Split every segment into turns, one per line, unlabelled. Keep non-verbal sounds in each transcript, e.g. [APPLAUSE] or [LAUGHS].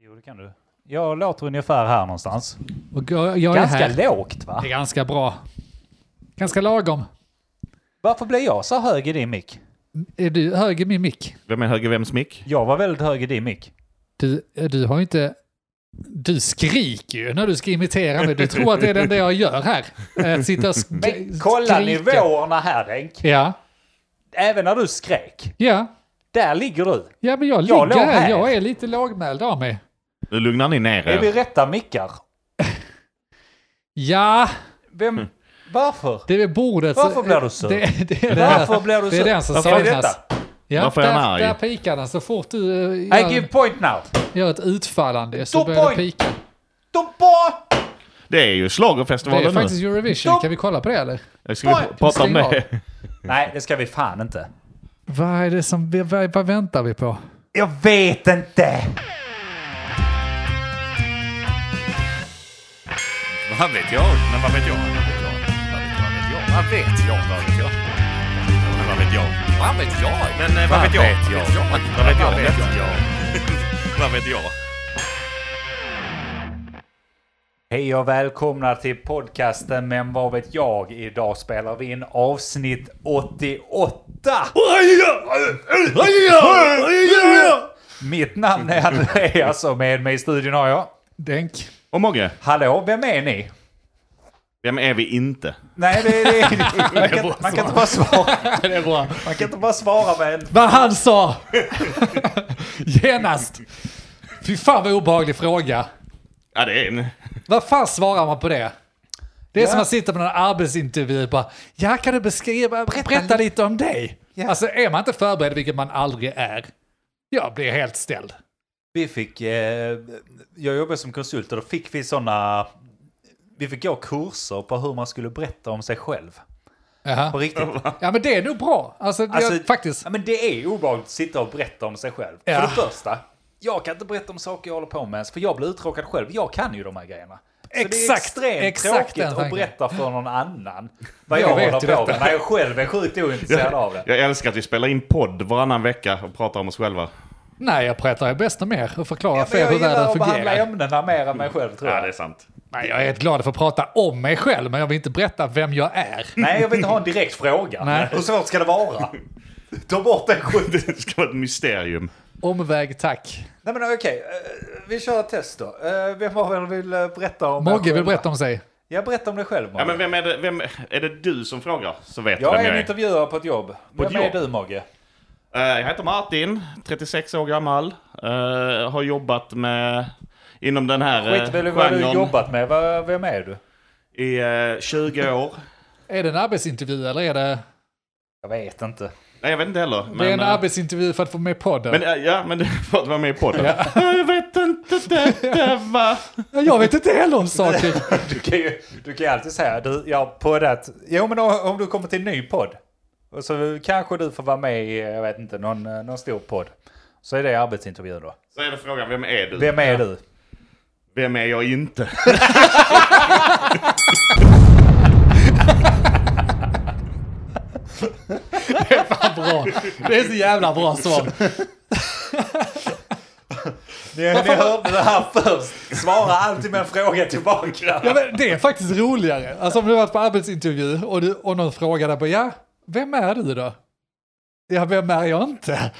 det kan du. Jag låter ungefär här någonstans.
Och jag, jag är
Ganska
här.
lågt va?
Det är ganska bra. Ganska lagom.
Varför blev jag så hög i din mick?
Är du hög i min mick?
Vem är höger vems mick?
Jag var väldigt hög i din mick.
Du, eh, du har ju inte... Du skriker ju när du ska imitera mig. Du tror att det är det enda jag gör här. Att sitta och sk-
Men kolla
skrika.
nivåerna här Henk.
Ja,
Även när du skrek.
ja.
Där ligger du.
Ja, men jag ligger
Jag låg
här.
här.
Jag är lite lågmäld av mig.
Nu lugnar ni ner
Är vi
er.
rätta mickar?
Ja,
Vem? Varför?
det är bordet.
Varför blir du sur?
[LAUGHS] Det, det är det här.
Varför blir du
Det är
så?
den som
Varför är detta?
saknas. Ja,
Varför är
där,
han arg?
Där pikar den. Så fort du eh,
I give
gör,
point now.
gör ett utfallande så
Då
börjar det
point.
pika.
Då på!
Det är ju
Det är
schlagerfestivalen nu.
faktiskt Eurovision.
Stopp.
Kan vi kolla på det eller?
Jag Ska vi
Oj,
prata om
stäng av.
det?
Nej, det ska vi fan inte.
Vad är det som... Vad, vad väntar vi på?
Jag vet inte.
Vad vet jag? Men vad vet jag? Vad vet jag? Vad vet jag? Vad vet jag? Men vad vet jag? Vad vet jag? Men eh, vad vet jag? Vad vet jag? Vad vet jag? Vad vet jag?
Hej och välkomna till podcasten Men vad vet jag? Idag spelar vi in avsnitt 88. Mitt namn är Andreas och med mig i studion har jag...
Denk.
Och Mogge,
Hallå, vem är ni?
vem är vi inte?
Nej, det, [LAUGHS] det, man, kan, man kan inte bara svara. [LAUGHS]
Det är bra.
Man kan inte bara svara med en...
Vad han sa! [LAUGHS] Genast! Fy fan vad obehaglig fråga.
Ja, det är en...
Vad fan svarar man på det? Det är
Ja.
som att sitta på någon arbetsintervju och bara Ja, kan du beskriva, berätta, lite om dig?
Ja.
Alltså är man inte förberedd, vilket man aldrig är, jag blir helt ställd.
Vi fick... Eh, jag jobbade som konsult och då fick vi sådana... Vi fick gå kurser på hur man skulle berätta om sig själv. På
Jaha.
[LAUGHS] riktigt.
Ja, men det är nog bra. Alltså,
Alltså,
jag, faktiskt.
Ja, men det är obehagligt att sitta och berätta om sig själv.
Ja.
För det första, jag kan inte berätta om saker jag håller på med ens, för jag blir uttråkad själv. Jag kan ju de här grejerna. Så det är
Exakt,
extremt
exakt
tråkigt
den
att
tanken.
berätta för någon [LAUGHS] annan vad
Jag
jag,
vet ju
håller på
detta.
med, när jag själv är sjukt ointresserad av det.
Jag älskar att vi spelar in podd varannan vecka och pratar om oss själva.
Nej, jag pratar ju bäst om er och förklarar
Men
för er
jag
hur
gillar
världen
att behandla
fungerar.
ämnena mer än mig själv, tror
Ja,
jag.
det är sant.
Nej, jag är helt glad för att prata om mig själv, men jag vill inte berätta vem jag är.
Nej, jag vill inte ha en direkt fråga.
Nej.
Hur svårt ska det vara? Ta bort den skiten.
[LAUGHS] Det ska vara ett mysterium.
Omväg tack.
Nej, men okej. eh, Vi kör ett test då. Eh, Vem av er vill eh, berätta om... er
Mogge vill
själva?
berätta om sig.
Ja, berätta om dig själv, Mogge.
Ja, men vem är det, vem, är det du som frågar? Så vet du
Jag
vem
är
jag
en
är.
intervjuare på ett jobb. Vem
ett
är
jobb?
du Mogge?
Eh, Jag heter Martin, 36 år gammal. Eh, har jobbat med... Inom den här eh,
Skit väl i vad du jobbat med. Va- Vem är du?
i eh, 20 år.
Är det en arbetsintervju eller är det...
Jag vet inte. [LAUGHS]
Nej, jag vet inte heller.
det är en
eh,
arbetsintervju för att få med i podden.
Men, eh, ja, men du [LAUGHS] får vara med i podden. [LAUGHS] Jag vet inte detta va.
jag vet inte heller om saker.
Du kan ju, du kan ju alltid säga du, jag har poddat. Jo men om om du kommer till en ny podd. och Så kanske du får vara med i, jag vet inte, någon, eh, någon stor podd. Så är det arbetsintervju då.
Så är det frågan, vem är du?
Vem är du?
Vem är jag inte?
bra. Det är så jävla bra svar.
Ni, ni hörde det här först. Svara alltid med en fråga tillbaka.
Ja, men det är faktiskt roligare. Alltså om du har varit på arbetsintervju och, du, och någon frågar dig på ja, vem är du då? Ja, vem är jag inte?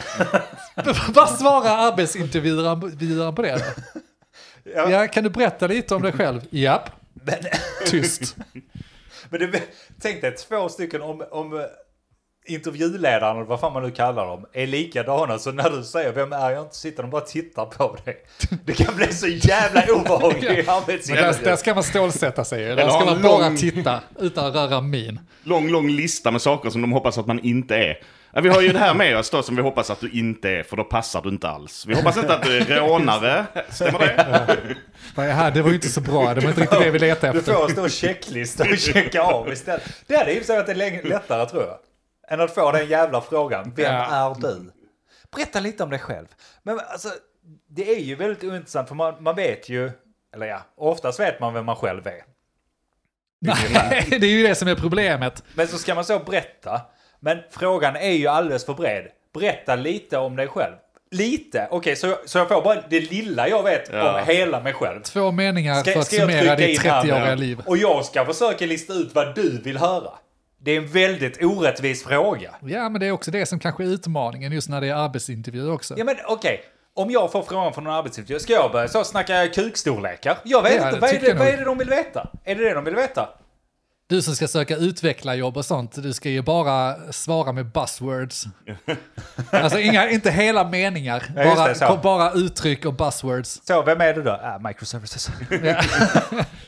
[LAUGHS] Vad svarar arbetsintervjuaren på det? Då?
Ja.
Ja, kan du berätta lite om dig själv? Japp,
Men,
tyst.
men det, tänk dig två stycken om, om eh, intervjuledaren, eller vad fan man nu kallar dem, är likadana. Så när du säger vem är jag inte sitter de bara och tittar på dig. Det kan bli så
[LAUGHS]
jävla obehaglig
Men där, där
arbetsintervju.
ska man stålsätta sig. ju. Där
Eller
ska
ha
man
en
bara
lång-
titta utan att röra min.
Lång, lång lista med saker som de hoppas att man inte är. Ja, Vi har ju det här med oss då som vi hoppas att du inte är, för då passar du inte alls. Vi hoppas inte att du är rånare. Stämmer det?
Nej, här, det var ju inte så bra. Det var inte riktigt det vi letade
Du
efter.
får en
[LAUGHS]
stor checklista och checka av istället. Det hade i och för sig varit lä- lättare tror jag. Än att få den jävla frågan, vem
Ja.
är du? Berätta lite om dig själv. Men alltså, det är ju väldigt ointressant för man, man vet ju, eller ja, oftast vet man vem man själv är.
Nej, det är ju det som är problemet.
Men så ska man så berätta. Men frågan är ju alldeles för bred. Berätta lite om dig själv. lite. Okej, så, jag- så jag får bara det lilla jag vet
Ja.
om hela mig själv.
Två meningar
Ska,
för att
ska jag trycka
summera
in
ditt
här
30-åriga
nu?
liv.
Och jag ska försöka lista ut vad du vill höra. Det är en väldigt orättvis fråga.
Ja, men det är också det som kanske är utmaningen just när det är arbetsintervjuer också.
Ja men okej, om jag får frågan från en arbetsintervju, ska jag börja så snacka kukstorlekar? Jag vet
Ja,
inte,
det
vad är,
tycker
det,
jag
vad
nog.
är det de vill veta? Är det det de vill veta?
Du som ska söka utvecklarjobb och sånt, du ska ju bara svara med
[LAUGHS]
buzzwords. alltså inga, inte hela meningar,
just
bara,
det, så.
bara uttryck och buzzwords.
Så, vem är du då? Ah,
[LAUGHS]
microservices.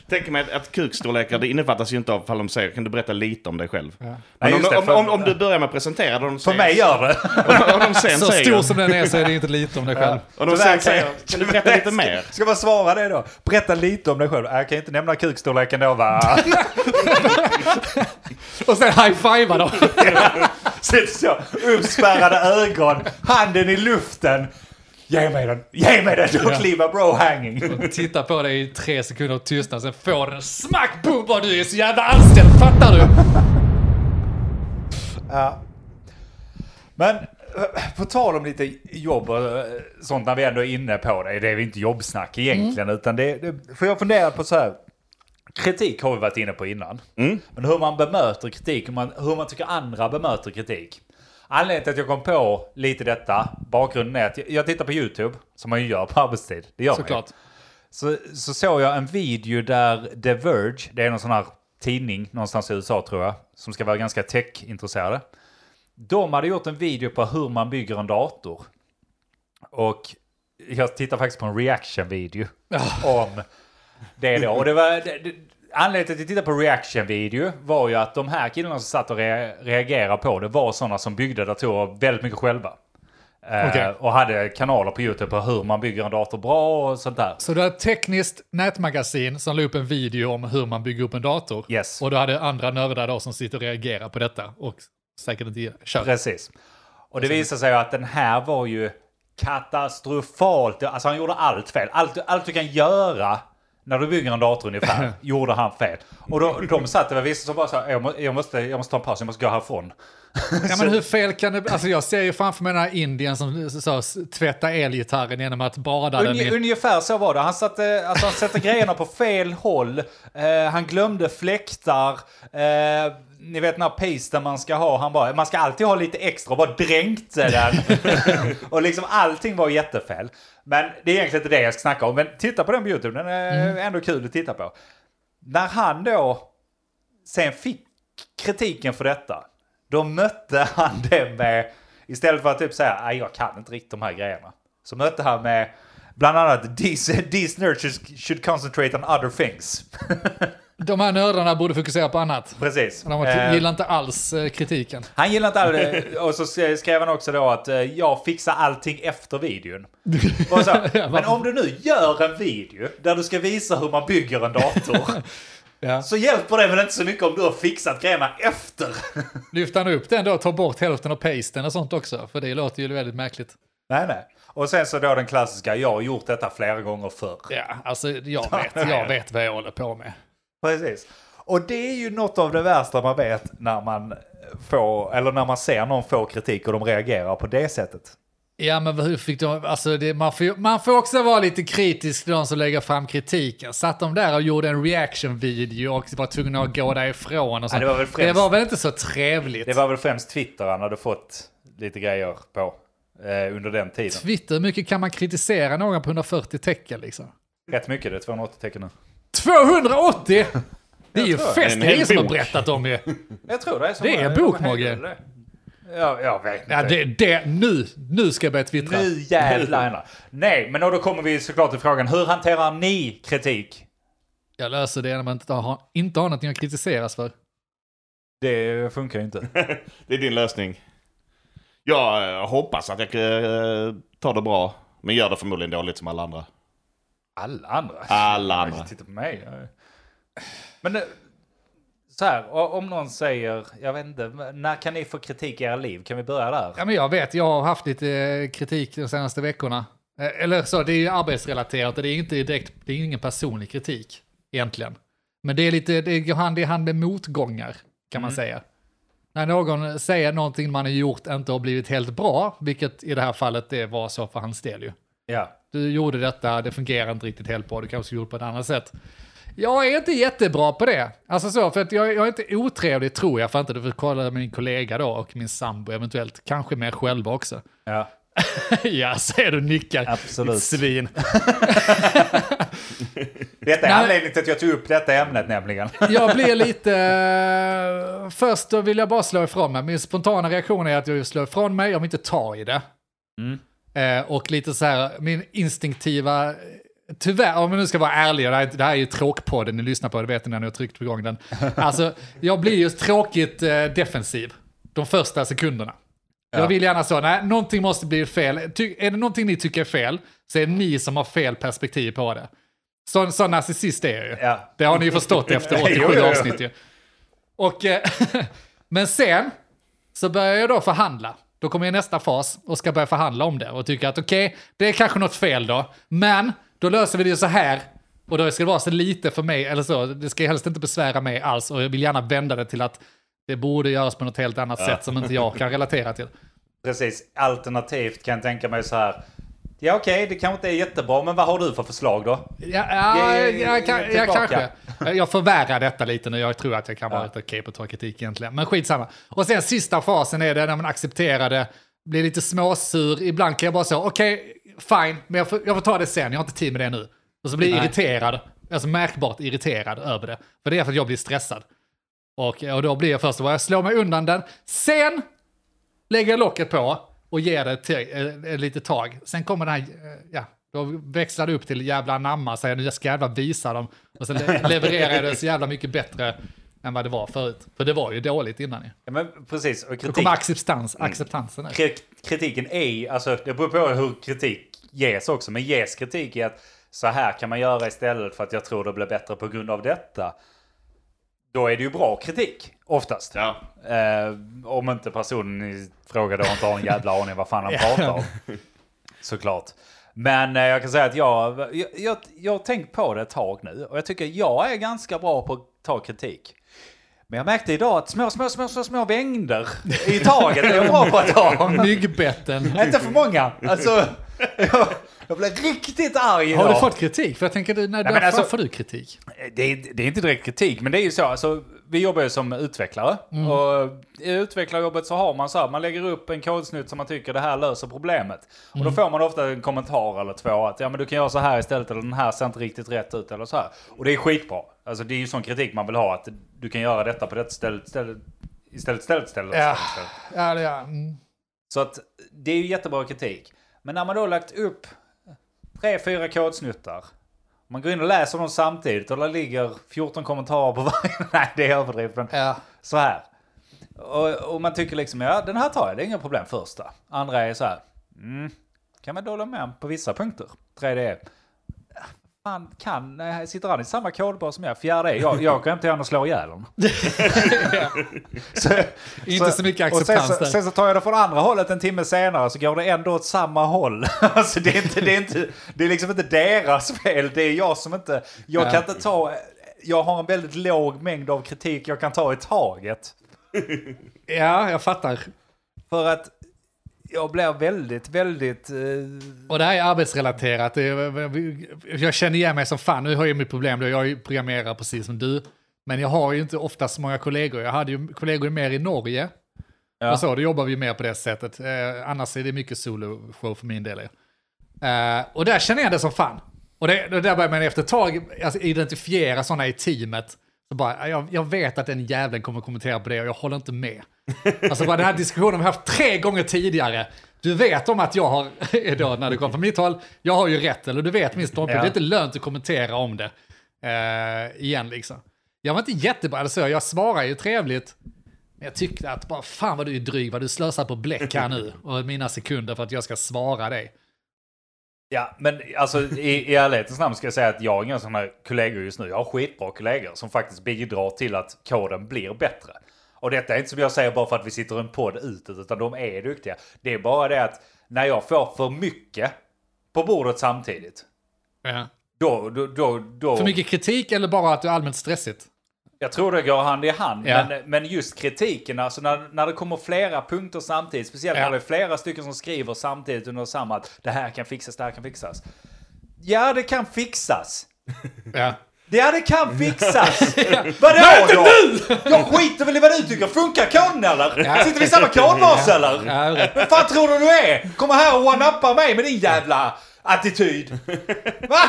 Tänk mig att, att kukstorlekar, det innefattas ju inte av fall de säger kan du berätta lite om dig själv?
Nej,
Men om,
just det,
om,
för-
om, om du börjar med att presentera det de
För
säger,
mig gör det.
[LAUGHS] om, om de sen
Så
säger,
stor som den är så är det inte lite om dig själv.
och de
Tyvärr
sen säger, kan du berätta lite mer?
[LAUGHS] Ska man svara det då? Berätta lite om dig själv. Ah, Jag kan inte nämna kukstorleken då va?
[LAUGHS]
Och sen high-fiva då.
Sen så, uppspärrade ögon, handen i luften. Ge mig den, ge mig den! Och kliva bro hanging.
Titta på dig i tre sekunder och tystnad, sen får den en smack, boom, vad du är så jävla anställd, fattar du?
Men eh, på tal om lite jobb och eh, sånt när vi ändå är inne på det. Det är väl inte jobbsnack egentligen. Utan det, det, för jag funderar på så här. Kritik har vi varit inne på innan. Men hur man bemöter kritik, hur man, hur man tycker andra bemöter kritik. Anledningen till att jag kom på lite detta, bakgrunden är att jag, jag tittar på YouTube, som man ju gör på arbetstid. Det gör man ju
Såklart.
så, så såg jag en video där The Verge, det är någon sån här tidning någonstans i USA tror jag, som ska vara ganska tech-intresserade. De hade gjort en video på hur man bygger en dator. Och jag tittar faktiskt på en reaction-video om det då. Och det var, det, det, anledningen till att jag tittade på reaction-video var ju att de här killarna som satt och re, reagerade på det var sådana som byggde datorer väldigt mycket själva. Eh,
Okej.
Och hade kanaler på YouTube på hur man bygger en dator bra och sånt där.
Så du hade ett tekniskt nätmagasin som la upp en video om hur man bygger upp en dator.
Yes.
Och du hade andra nördar då som sitter och reagerar på detta och säkert inte kör.
Precis. Och det visar sig ju att den här var ju katastrofalt. Alltså han gjorde allt fel. Allt, allt du kan göra när du bygger en dator [LAUGHS] ungefär gjorde han fel. Och då, de satt där, vissa som bara sa jag, må, jag, måste, jag måste ta en paus, jag måste gå härifrån.
Ja men hur fel kan det Alltså jag ser ju framför mig den här Indien som sa tvätta elgitarren genom att bada den
Unge-
i...
ungefär så var det. Han, satte, alltså, han sätter grejerna på fel håll. Eh, han glömde fläktar. Eh, ni vet den här pasten man ska ha. Han bara, man ska alltid ha lite extra och bara dränkte den. och liksom allting var jättefel. Men det är egentligen inte det jag ska snacka om. Men titta på den på YouTube, den är ändå kul att titta på. När han då sen fick kritiken för detta, då mötte han det med, istället för att typ säga "Nej, jag kan inte riktigt de här grejerna, så mötte han med bland annat these, these nerds should- should concentrate on other things. [LAUGHS]
De här nördarna borde fokusera på annat.
Precis.
De
Eh,
gillar inte alls eh, kritiken.
han gillar inte all det. Och så skrev han också då att eh, jag fixar allting efter videon. Och så, men om du nu gör en video där du ska visa hur man bygger en dator.
Ja.
Så hjälper det väl inte så mycket om du har fixat grejerna efter.
Lyfter han upp den då och tar bort hälften av pasten och sånt också? För det låter ju väldigt märkligt.
Nej, nej. Och sen så då den klassiska, jag har gjort detta flera gånger förr.
Ja, alltså jag vet, jag vet vad jag håller på med.
Precis. Och det är ju något av det värsta man vet när man får, eller när man ser någon få kritik och de reagerar på det sättet.
Ja, men hur fick de, alltså det, man, får, ju- man får också vara lite kritisk till de som lägger fram kritiken. Satt de där och gjorde en reaction-video och var tvungna att gå därifrån och så.
Ja, det var väl främst-
det var väl inte så trevligt?
Det var väl främst Twitter han hade fått lite grejer på eh, under den tiden.
Twitter, hur mycket kan man kritisera någon på 140 tecken liksom?
Rätt mycket, det är 280 tecken nu.
280! Det är ju fest,
En
det
hel
är som har
bok.
berättat
[LAUGHS]
om ju.
Jag tror det är så.
Det är en bok, Mogge.
Ja, jag vet inte.
Ja, det, det, nu, nu ska jag börja twittra.
Nu jävlar. Nej, men då kommer vi såklart till frågan, hur hanterar ni kritik?
Jag löser det när man inte har, inte har någonting att kritiseras för.
Det funkar ju inte.
Det är din lösning. Jag eh, hoppas att jag eh, tar det bra, men gör det förmodligen dåligt som alla andra.
Alla andra.
Alla andra.
Titta på mig. Men eh, så här, o- om någon säger, jag vet inte, när kan ni få kritik i era liv? Kan vi börja där?
Ja, men jag vet, jag har haft lite eh, kritik de senaste veckorna. Eh, Eller så, det är ju arbetsrelaterat och det är inte direkt, det är ingen personlig kritik egentligen. Men det är lite, det går hand i hand med motgångar kan man säga. När någon säger någonting man har gjort inte har blivit helt bra, vilket i det här fallet det var så för hans del ju.
Ja.
Du gjorde detta, det fungerar inte riktigt helt bra, du kanske gjorde på ett annat sätt. Jag är inte jättebra på det. Alltså så, för att jag, jag är inte otrevlig tror jag, för inte du får kolla min kollega då och min sambo eventuellt, kanske mer själva också. [LAUGHS]
ja.
ja, ser du nickar.
Absolut.
Ditt svin.
[LAUGHS] Detta är
Nej.
anledningen till att jag tog upp detta ämnet nämligen. [LAUGHS]
Jag blir lite... eh, Först då vill jag bara slå ifrån mig. Min spontana reaktion är att jag vill slå ifrån mig, jag vill inte ta i det. Eh, och lite så här, min instinktiva... Tyvärr, om jag nu ska vara ärlig, och det här, är- det här är ju tråkpodden ni lyssnar på, det vet ni när ni har tryckt på igång den. Alltså, jag blir ju tråkigt eh, defensiv de första sekunderna. Jag vill gärna så, nej, någonting måste bli fel. Ty, är det någonting ni tycker är fel, så är det ni som har fel perspektiv på det. Så, så narcissist är jag ju.
Ja.
Det har ni ju förstått efter
Jo, jo,
87
jo.
avsnitt ju. Och, eh, [LAUGHS] men sen så börjar jag då förhandla. Då kommer jag i nästa fas och ska börja förhandla om det och tycker att okej, det är kanske något fel då, men då löser vi det ju så här och då ska det vara så lite för mig, eller så, det ska helst inte besvära mig alls och jag vill gärna vända det till att det borde göras på något helt annat sätt som inte jag kan relatera till.
Precis, alternativt kan jag tänka mig så här. Ja okej, det kanske inte är jättebra, men vad har du för förslag då?
Ja, ja,
Ge-
jag, kan-
ge
jag
tillbaka.
kanske. Jag förvärrar detta lite nu. Jag tror att jag kan vara helt okej på att ta kritik egentligen. Men skitsamma. Och sen sista fasen är det när man accepterar det, blir lite småsur. Ibland kan jag bara säga okej, fine, men jag får, jag får ta det sen. Jag har inte tid med det nu. Och så blir jag irriterad, alltså märkbart irriterad över det. För det är för att jag blir stressad. Och, och då blir jag först, jag slår mig undan den. Sen lägger jag locket på och ger det till, eh, eh, lite tag. Sen kommer den här, eh, ja, då växlar det upp till jävla namma, säger nu jag ska jävla visa dem. Och sen le-
[LAUGHS]
levererar jag det så jävla mycket bättre än vad det var förut. För det var ju dåligt innan ju.
Ja, men precis, och
Då
kritik,
kommer acceptans,
Mm. [LAUGHS]
acceptansen nu.
kri- kritiken är, alltså det beror på hur kritik ges också, men ges kritik i att så här kan man göra istället för att jag tror det blir bättre på grund av detta. Då är det ju bra kritik, oftast.
Ja.
Eh, om inte personen i fråga då inte har en jävla aning vad fan han pratar om. Såklart. Men eh, jag kan säga att jag, jag, jag, jag har tänkt på det ett tag nu och jag tycker jag är ganska bra på att ta kritik. Men jag märkte idag att små, små, små, små, små mängder i taget är jag bra på att ta.
Myggbetten.
Inte för många. Alltså, jag, jag blev riktigt arg idag.
Har du fått kritik? För jag tänker, du- när,
men
när
alltså-
får du kritik?
Det är, det är inte direkt kritik, men det är ju så. Alltså, vi jobbar ju som utvecklare. Och I utvecklarjobbet så har man så här, man lägger upp en kodsnutt som man tycker det här löser problemet. Och då får man ofta en kommentar eller två att ja men du kan göra så här istället eller den här ser inte riktigt rätt ut eller så här. Och det är skitbra. Alltså det är ju sån kritik man vill ha att du kan göra detta på detta stället, stället istället, istället, istället,
Ja.
istället, istället.
Ja, det är, mm.
Så att det är ju jättebra kritik. Men när man då har lagt upp tre, fyra kodsnuttar. Man går in och läser dem samtidigt och där ligger 14 kommentarer på [LAUGHS] varje. Nej, det är överdrivet. men
ja.
Så här. Och, och man tycker liksom, ja den här tar jag, det är inga problem första. Andra är så här, mm, kan man då hålla med om på vissa punkter. Tredje är, man kan, eh, sitter han i samma kodbas som jag? Fjärde är, jag, jag går hem till honom och slår ihjäl honom. [LAUGHS] Så-
Inte så mycket
och sen,
acceptans
så,
där.
sen så tar jag det från andra hållet en timme senare så går det ändå åt samma håll. [LAUGHS] alltså det är, inte, det, är inte, det är liksom inte deras fel, det är jag som inte... Jag kan inte ta... Jag har en väldigt låg mängd av kritik jag kan ta i taget.
ja, jag fattar.
För att jag blir väldigt, väldigt... eh,
Och det här är arbetsrelaterat. Det är- Jag känner igen mig som fan. Nu har jag mitt problem. då. Jag är ju programmerare precis som du. Men jag har ju inte ofta så många kollegor. Jag hade ju kollegor mer i Norge.
Ja.
Och så, då jobbar vi ju mer på det sättet. Eh, annars är det mycket soloshow för min del. ja. Eh, och där känner jag det som fan. Och det, det där börjar man efter ett tag alltså, identifiera sådana i teamet. Så bara, jag, jag vet att den jäveln kommer kommentera på det och jag håller inte med. Alltså bara den här diskussionen har vi haft tre gånger tidigare. Du vet om att jag har, [LAUGHS] idag när du kom från mitt håll, jag har ju rätt, eller du vet min ståndpunkt.
Ja.
Det är inte lönt att kommentera om det eh, igen liksom. Jag var inte jättebra, eller så, jag svarar ju trevligt. Men jag tyckte att bara fan vad du är dryg, vad du slösar på bläck här nu och mina sekunder för att jag ska svara dig.
Ja, men alltså i, i ärlighetens namn ska jag säga att jag har inga sådana kollegor just nu. Jag har skitbra kollegor som faktiskt bidrar till att koden blir bättre. Och detta är inte som jag säger bara för att vi sitter i en podd utåt, utan de är duktiga. Det är bara det att när jag får för mycket på bordet samtidigt, då... då, då, då
För mycket kritik eller bara att du är allmänt stressigt?
Jag tror det går hand i hand,
Ja.
men, men just kritiken, alltså när, när det kommer flera punkter samtidigt, speciellt
Ja.
när det är flera stycken som skriver samtidigt under samma, att det här kan fixas, det här kan fixas. Ja, det kan fixas.
Ja.
Ja, det kan fixas! Vadå då? Jag skiter väl i vad du tycker, funkar koden eller? Sitter vi i samma kodbas eller?
Ja, det är
Vad fan tror du du är? Kommer här och one-uppar mig med din jävla attityd. Va?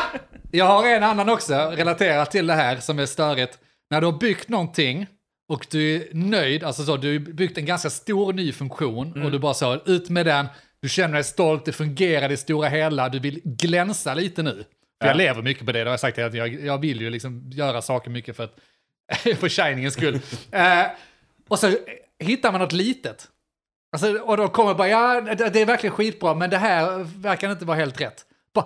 Jag har en annan också relaterat till det här som är störigt. När du har byggt någonting och du är nöjd, alltså så, du har byggt en ganska stor ny funktion och du bara så, ut med den, du känner dig stolt, det fungerar i stora hela, du vill glänsa lite nu. För Jag lever mycket på det, det har jag sagt, att jag, jag vill ju liksom göra saker mycket för, att, [LAUGHS] för shiningens skull. Eh, och så hittar man något litet. Alltså, och då kommer bara, ja det, det är verkligen skitbra, men det här verkar inte vara helt rätt. Bara,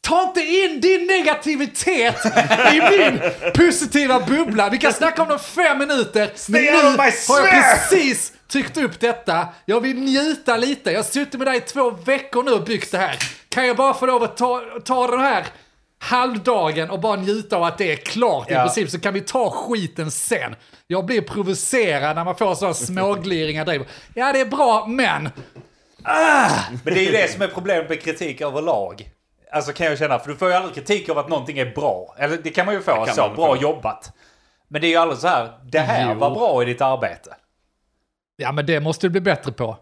ta inte in din negativitet i min positiva bubbla. Vi kan snacka om det om fem minuter. Men nu
out of my
har jag
sphere!
precis tryckt upp detta. Jag vill njuta lite. Jag har suttit med dig i två veckor nu och byggt det här. Kan jag bara få lov att ta, ta den här halvdagen och bara njuta av att det är klart i
Ja.
princip så kan vi ta skiten sen. Jag blir provocerad när man får sådana smågliringar. där. Ja, det är bra, men...
Men det är ju det som är problemet med kritik överlag. Alltså kan jag känna, för du får ju aldrig kritik av att någonting är bra. Eller det kan man ju få,
kan
så
man
bra
få.
jobbat. Men det är ju aldrig så här, det här
Jo.
var bra i ditt arbete.
Ja, men det måste du bli bättre på.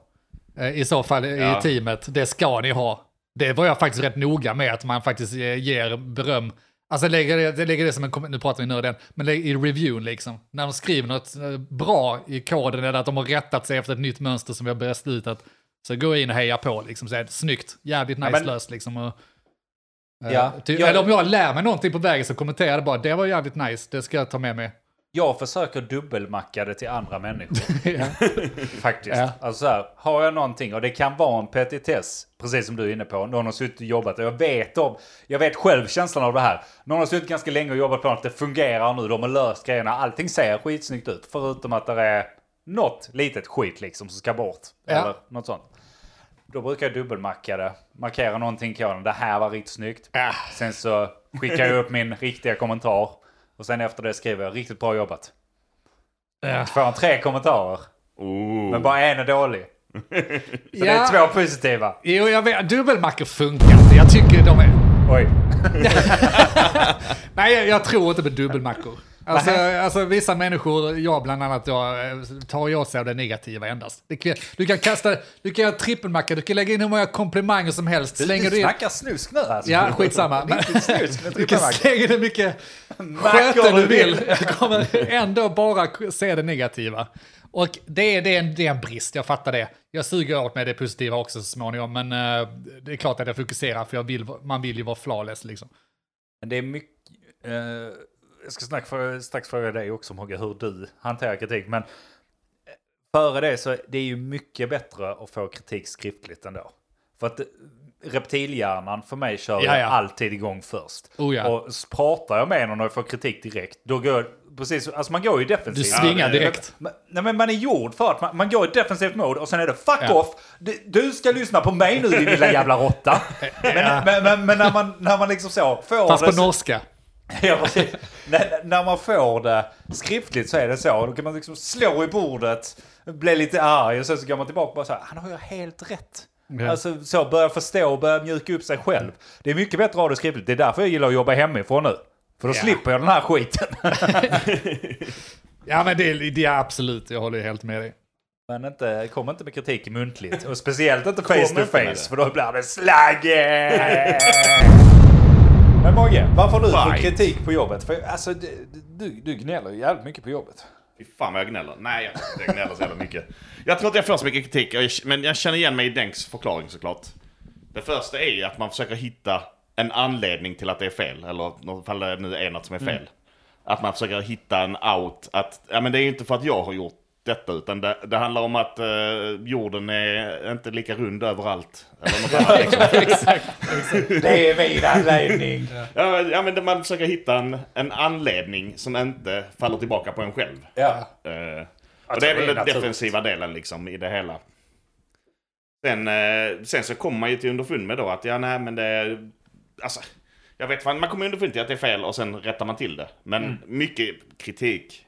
eh, I så fall i
Ja.
teamet. Det ska ni ha. Det var jag faktiskt rätt noga med, att man faktiskt eh, ger beröm. Alltså lägger det, det lägger det som en, kom- nu pratar vi nörden, men lägger i reviewn liksom. När de skriver något eh, bra i koden eller att de har rättat sig efter ett nytt mönster som vi har beslutat. Så gå in och heja på liksom, säg snyggt, jävligt nice
men-
löst liksom. Och, eh,
Ja,
ty,
jag-
Eller om jag lär mig någonting på vägen så kommenterar jag bara, det var jävligt nice, det ska jag ta
[LAUGHS]
med mig.
Jag försöker dubbelmacka det till andra människor.
Ja.
Faktiskt.
Ja.
Alltså så här, har jag någonting och det kan vara en petitess, precis som du är inne på. Någon har suttit och jobbat och jag vet om, jag vet själv känslan av det här. Någon har suttit ganska länge och jobbat på att det fungerar nu, de har löst grejerna, allting ser skitsnyggt ut. Förutom att det är något litet skit liksom som ska bort.
Ja.
Eller något sånt. Då brukar jag dubbelmacka det, markera någonting på den. Det här var riktigt snyggt.
Ja.
Sen så skickar jag upp min riktiga kommentar. Och sen efter det skriver jag riktigt bra jobbat.
Ja.
Får han tre kommentarer.
Oh.
Men bara en är dålig. Så det
Ja.
är två positiva.
Jo, jag vet. Dubbelmackor funkar inte. Jag tycker de är...
Oj.
Nej, jag, jag tror inte
[LAUGHS]
på dubbelmackor. Alltså, alltså vissa människor, jag bland annat, jag, eh, tar ju åt sig av det negativa endast. Det kan, du kan kasta, du kan göra trippelmacka, du kan lägga in hur många komplimanger som helst. Slänger du in...
snackar snusk nu alltså.
Ja, skitsamma.
[LAUGHS]
Men-
Riktigt snusk med
Du kan
trippelmack.
slänga in hur mycket
Mackor
sköte
du
du
vill.
vill. Jag kommer ändå bara se det negativa. Och det, är- det, är en, det är en brist, jag fattar det. Jag suger åt mig det positiva också så småningom, men eh, det är klart att jag fokuserar för jag vill, man vill ju vara flawless liksom.
Men Det är mycket... eh, jag ska snacka för, strax fråga dig också Mogge hur du hanterar kritik. Men eh, före det så det är ju mycket bättre att få kritik skriftligt ändå. För att eh, reptilhjärnan för mig kör ju
Ja, ja.
alltid igång först.
Oh, ja.
Och s- pratar jag med någon och får kritik direkt, då går jag, precis, alltså man går ju defensivt.
Du svingar
Ja, det-
direkt.
Men- Nej men man är gjord för att man, man går i defensivt mode och sen är det fuck
Ja.
off, du, du ska lyssna på mig nu din lilla jävla
[LAUGHS]
råtta. Men, men, men, men när, man, när man liksom så får
Fast
det
på
så-
norska.
[LAUGHS] Ja, precis. när, när man får det skriftligt så är det så. Då kan man liksom slå i bordet, bli lite arg och sen så går man tillbaka och bara så här, han har ju helt rätt.
Ja.
Alltså så, börja förstå och börja mjuka upp sig själv. Det är mycket bättre att ha det skriftligt. Det är därför jag gillar att jobba hemifrån nu. För då slipper jag den här skiten.
Ja men det, är- det är absolut, jag håller ju helt med dig.
Men inte, kom inte med kritik muntligt. Och speciellt [LAUGHS] inte
Kom
face
inte
to
med
face,
det.
för då blir det slagge! Men Mogge, varför har du fått
Right.
kritik på jobbet? För alltså, du, du, du gnäller ju jävligt mycket på jobbet.
Fy fan vad jag gnäller. Nej, jag, tror inte jag gnäller så jävla mycket. Jag tror inte jag får så mycket kritik, och jag- men jag känner igen mig i Denks förklaring såklart. Det första är ju att man försöker hitta en anledning till att det är fel, eller ifall det nu är något som är fel. Att man försöker hitta en out, att ja, men det är ju inte för att jag har gjort detta, utan det, det handlar om att eh, jorden är inte lika rund överallt. Eller något annat, liksom.
Det är min anledning.
ja, men- ja, men det- man försöker hitta en, en anledning som inte faller tillbaka på en själv.
[LAUGHS] ja.
Eh, och det är
det är
väl den
naturligt.
defensiva delen liksom i det hela. Sen, eh, sen så kommer man ju till underfund med då att ja, nej men det... Alltså,
Mm.
jag vet fan, man kommer underfund till att det är fel och sen rättar man till det. Men mycket kritik